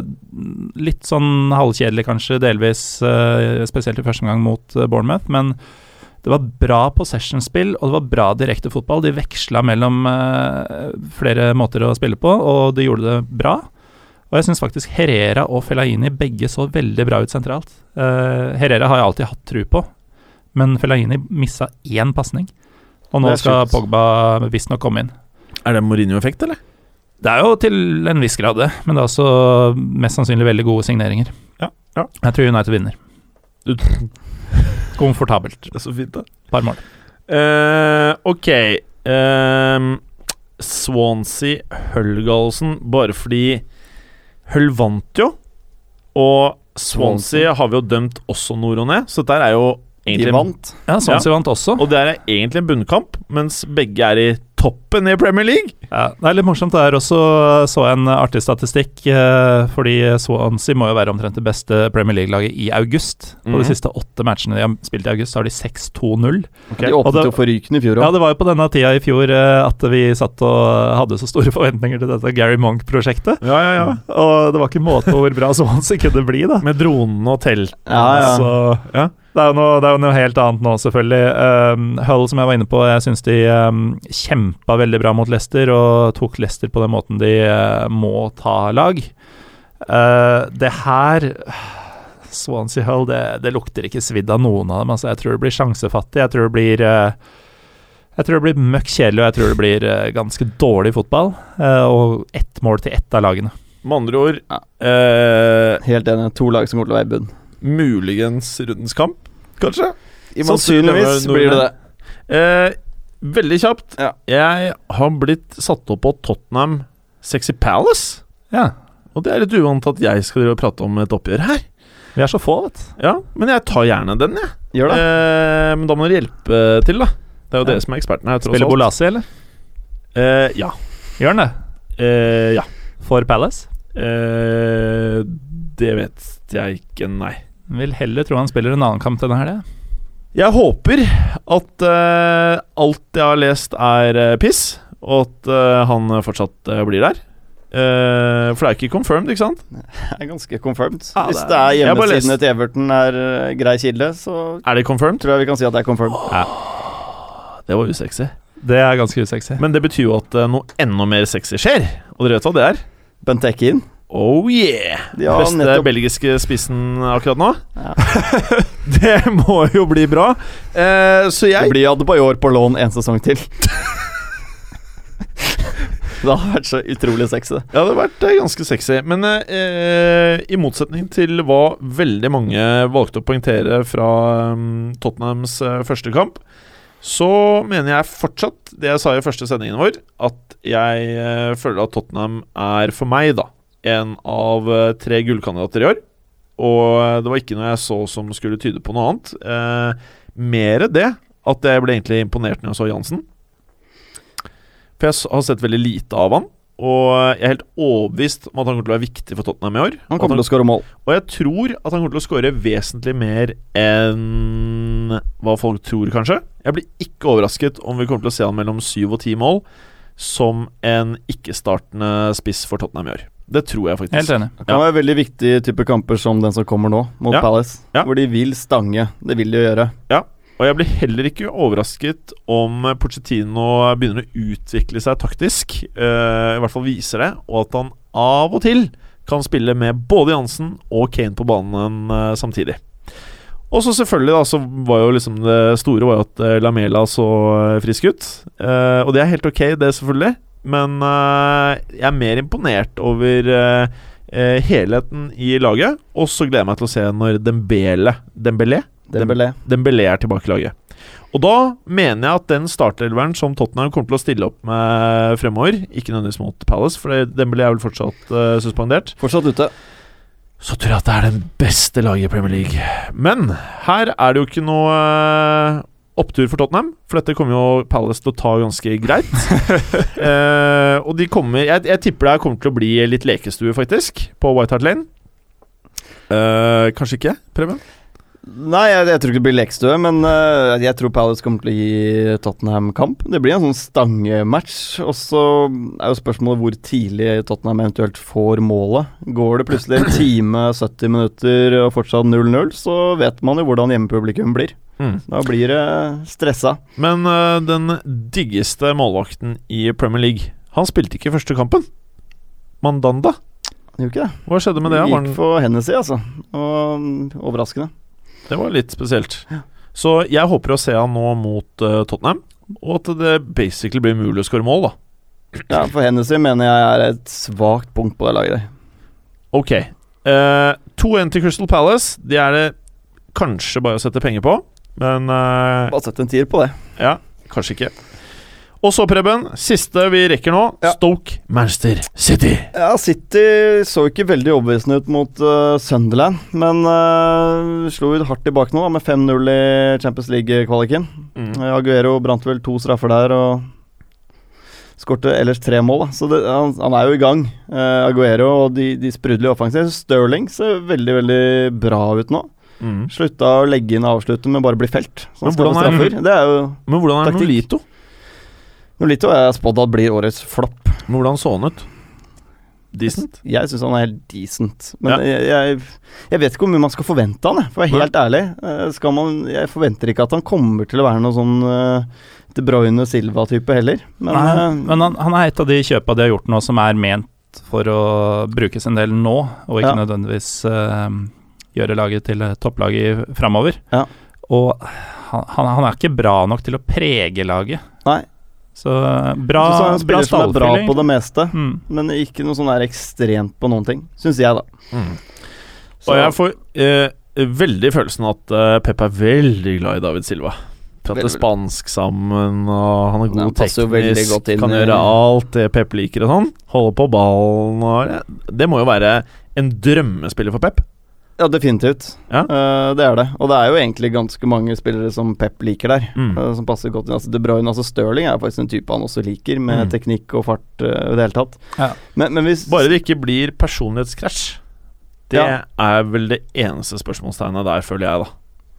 Litt sånn halvkjedelig kanskje, delvis, eh, spesielt i første omgang mot eh, Bournemouth, men det var bra possession-spill, og det var bra direkte fotball. De veksla mellom eh, flere måter å spille på, og de gjorde det bra. Og jeg syns faktisk Herrera og Fellaini begge så veldig bra ut sentralt. Eh, Herrera har jeg alltid hatt tru på, men Fellaini missa én pasning. Og nå Det er skal sjukt. Pogba visstnok komme inn. Er det Mourinho-effekt, eller? Det er jo til en viss grad det, men det er også mest sannsynlig veldig gode signeringer. Ja, ja. Jeg tror United vinner. Du- Komfortabelt. Det er så fint, da. Par mål. Eh, ok Ehm, Swansea Hull-Galsen Bare fordi Hull vant jo Og Swansea har vi jo dømt også nord og ned Så dette er jo De egentlig vant. Ja, Swansea vant også. Og det er egentlig en bunnkamp Mens begge er i toppen i Premier League Ja, det er litt morsomt. Det er også eh, så jeg en artig statistikk, eh, fordi Swansea må jo være omtrent det beste Premier League-laget i august. På Mhm. de siste åtte matchene de har spilt i august, så har de 6-2-0. De Og åpnet det- jo for Ryken i fjor Ja, òg. det var jo på denne tida i fjor eh, at vi satt og hadde så store forventninger til dette Gary Monk-prosjektet. Ja, ja, ja Og det var ikke måte på hvor bra Swansea kunne bli, da. Med dronen og telt Ja, ja. Så Ja. det, er jo noe, det er jo noe helt annet nå, selvfølgelig. Um, Hull, som jeg var inne på, jeg syns de um, kjempa veldig bra mot Leicester, og tok Leicester på den måten de eh, må ta lag. Eh, det her Swansea Hull, det, det lukter ikke svidd av noen av dem. Altså, jeg tror det blir sjansefattig. Jeg tror det blir eh, jeg tror det blir møkk kjedelig, og jeg tror det blir eh, ganske dårlig fotball. eh, og ett mål til ett av lagene. Med andre ord Ja. eh, Helt enig. To lag som kommer til å være i bunn. Muligens rundens kamp Kanskje Sannsynligvis blir det det. Eh, veldig kjapt. Ja. Jeg har blitt satt opp på Tottenham Sexy Palace. Ja. Og det er litt uvant at jeg skal drive og prate om et oppgjør her. Vi er så få, vet du. Ja, Men jeg tar gjerne den, jeg. Gjør det. Eh, men da må dere hjelpe til, da. Det er jo Ja. dere som er ekspertene her. tross Spiller alt. Bolasi, eller? Eh, ja. Gjør han det? Eh, ja. For Palace? Eh, det vet jeg ikke, nei. Vil heller tro han spiller en annen kamp denne helga. Jeg håper at eh, alt jeg har lest, er eh, piss, og at eh, han fortsatt eh, blir der. Eh, for det er ikke confirmed, ikke sant? Det er ganske confirmed. Ja, Hvis det er- det er Jeg bare leste- hjemmesiden til Everton er eh, grei kilde, så Er det confirmed? tror jeg vi kan si at det er confirmed. Det var usexy. Det er ganske usexy. Men det betyr jo at eh, noe enda mer sexy skjer. Og dere vet hva det er? Benteke inn. Oh yeah! De har Beste nettopp belgiske spissen akkurat nå. Ja. det må jo bli bra. Eh, så Det jeg blir Adebayor på lån en sesong til. det hadde vært så utrolig sexy. Det hadde vært eh, ganske sexy. Men eh, i motsetning til hva veldig mange valgte å poengtere fra mm, Tottenhams eh, første kamp, så mener jeg fortsatt det jeg sa i første sendingen vår, at jeg eh, føler at Tottenham er for meg, da, en av eh, tre gullkandidater i år. Og eh, det var ikke noe jeg så som skulle tyde på noe annet. Eh, Mere det at jeg ble egentlig imponert når jeg så Jansen. For jeg s- har sett veldig lite av han. Og jeg er helt overbevist om at han kommer til å være viktig for Tottenham i år. Han At kommer til å skåre mål. og jeg tror at han kommer til å skåre vesentlig mer enn hva folk tror, kanskje. Jeg blir ikke overrasket om vi kommer til å se han mellom syv og ti mål som en ikke-startende spiss for Tottenham i år. Det tror jeg faktisk. Helt enig. Det kan være veldig viktige typer kamper som den som kommer nå, mot Ja. Palace. Ja. Hvor de vil stange. Det vil de jo gjøre. Og jeg blir heller ikke overrasket om Pochettino begynner å utvikle seg taktisk. eh, I hvert fall viser det. Og at han av og til kan spille med både Jansen og Kane på banen eh, samtidig. Og så selvfølgelig da, så var jo liksom det store var jo at eh, Lamela så eh, frisk ut. Eh, og det er helt ok, det, selvfølgelig. Men eh, jeg er mer imponert over eh, eh, helheten i laget. Og så gleder jeg meg til å se når Dembele Dembélé Dembélé. Dembélé er tilbake i laget. Og da mener jeg at den startelveren som Tottenham kommer til å stille opp med fremover, ikke nødvendigvis mot Palace, for det- Dembélé er vel fortsatt eh, suspendert, Fortsatt ute. så tror jeg at det er den beste laget i Premier League. Men her er det jo ikke noe eh, opptur for Tottenham, for dette kommer jo Palace til å ta ganske greit. Eh, og de kommer jeg, jeg tipper det her kommer til å bli litt lekestue, faktisk, på White Hart Lane. Eh, kanskje ikke, Preben? Nei, jeg, jeg tror ikke det blir lekestue, men eh, jeg tror Palace kommer til å gi Tottenham kamp. Det blir en sånn stangematch. Og så er jo spørsmålet hvor tidlig Tottenham eventuelt får målet. Går det plutselig en time, 70 minutter og fortsatt 0-0, så vet man jo hvordan hjemmepublikum blir. Mm. Da blir det stressa. Men øh, den diggeste målvakten i Premier League Han spilte ikke første kampen. Mandanda. Gjør ikke det? Hva skjedde med det? Gikk Var den, for Hennessy, altså. Og mm, overraskende. det var litt spesielt. Så jeg håper å se han nå mot øh, Tottenham, og at det basically blir mulig å skåre mål, da. Ja, for Hennessy mener jeg er et svakt punkt på det laget der. Ok. Eh, 2-1 til Crystal Palace. Det er det kanskje bare å sette penger på, men eh, Bare sett en tier på det. Ja, kanskje ikke. Og så, Preben, siste vi rekker nå. Ja. Stoke Manchester City. Ja, City så ikke veldig overbevisende ut mot eh, Sunderland, men eh, slo ut hardt tilbake nå, da, med 5-0 i Champions League-kvaliken. Mm. Eh, Aguero brant vel to straffer der og skårte ellers tre mål, da. Så det, han, han er jo i gang. Eh, Aguero og de, de sprudler offensivt. Sterling ser veldig, veldig bra ut nå. Mm. Slutta å legge inn avslutter, men bare bli felt. Så Men han skårer hvordan er- straffer. Det er jo Men hvordan er Taktikk. Nolito? Nolito har jeg spådd at blir årets flopp. Men hvordan så han ut? Decent? Jeg syns han er helt decent. Men Ja. jeg, jeg, jeg vet ikke hvor mye man skal forvente han, jeg, for å være helt ærlig. Eh, Skal man, jeg forventer ikke at han kommer til å være noe sånn eh, De Bruyne Silva-type heller. Men, Nei, eh, men han, han er et av de kjøpa de har gjort nå som er ment for å brukes en del nå, og ikke Ja. nødvendigvis eh, gjøre laget til et topplag i framover. Ja. Og han, han han er ikke bra nok til å prege laget. Nei. Så eh, bra, jeg synes han er en bra spiller som er bra stallfylling. på det meste, Mm. men ikke noe sånn der ekstremt på noen ting. Syns jeg, da. Og Mm. jeg får eh, veldig følelsen at eh, Pep er veldig glad i David Silva. Prater Veldig. spansk sammen, og han er god Ja, han passer jo veldig teknisk, godt inn kan i- gjøre alt det Pep liker og sånn. Holde på ballen og Det må jo være en drømmespiller for Pep. Ja, definitivt. Ja. Eh, det er det. Og det er jo egentlig ganske mange spillere som Pep liker der, Mm. eh, som passer godt inn. Altså De Bruyne, altså Stirling er faktisk en type han også liker, med Mm. teknikk og fart eh, i det hele tatt. Ja. Men, men hvis Bare det ikke blir personlighetskrasj. Det Ja. er vel det eneste spørsmålstegnet der, føler jeg, da.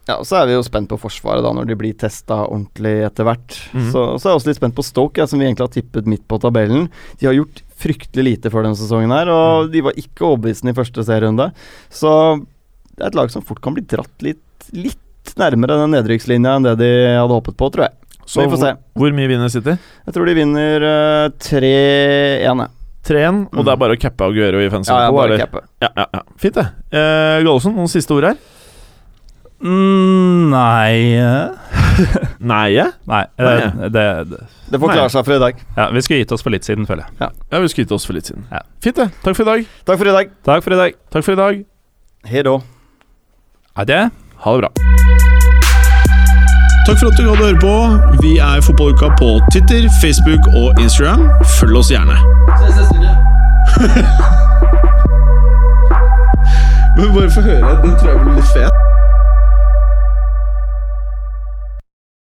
Ja, og Så er vi jo spent på Forsvaret, da, når de blir testa ordentlig etter hvert. Mhm. Så, så er jeg også litt spent på Stoke, jeg, som vi egentlig har tippet midt på tabellen. De har gjort fryktelig lite før denne sesongen her, Mhm. og de var ikke overbevisende i første serierunde. Så det er et lag som fort kan bli dratt litt, litt nærmere den nedrykkslinja enn det de hadde håpet på, tror jeg. Så Så vi får se. hvor mye vinner City? Jeg tror de vinner eh, 3-1, jeg. 3-1, og Mm. det er bare å cappe Aguero i fensen. Ja, jeg etterpå, bare eller? capper. ja, ja, ja. Fint, det. Eh, Gallosen, noen siste ord her? Mm, nei eh, Nei, jeg? Nei. eh, Nei. Det, det. Det får Nei. klare seg for i dag. Ja, vi skulle gitt oss for litt siden, føler jeg. Ja, vi skryter oss for litt siden. Ja. Fint, det. Takk for i dag. Takk for i dag. Takk for i dag. Takk for i dag. Hei då. Ha det. Ha det bra. Takk for at du hadde høre på. Vi er Fotballuka på Titter, Facebook og Instagram. Følg oss gjerne. Ses neste uke. Men bare få høre. Den tror jeg blir litt fet.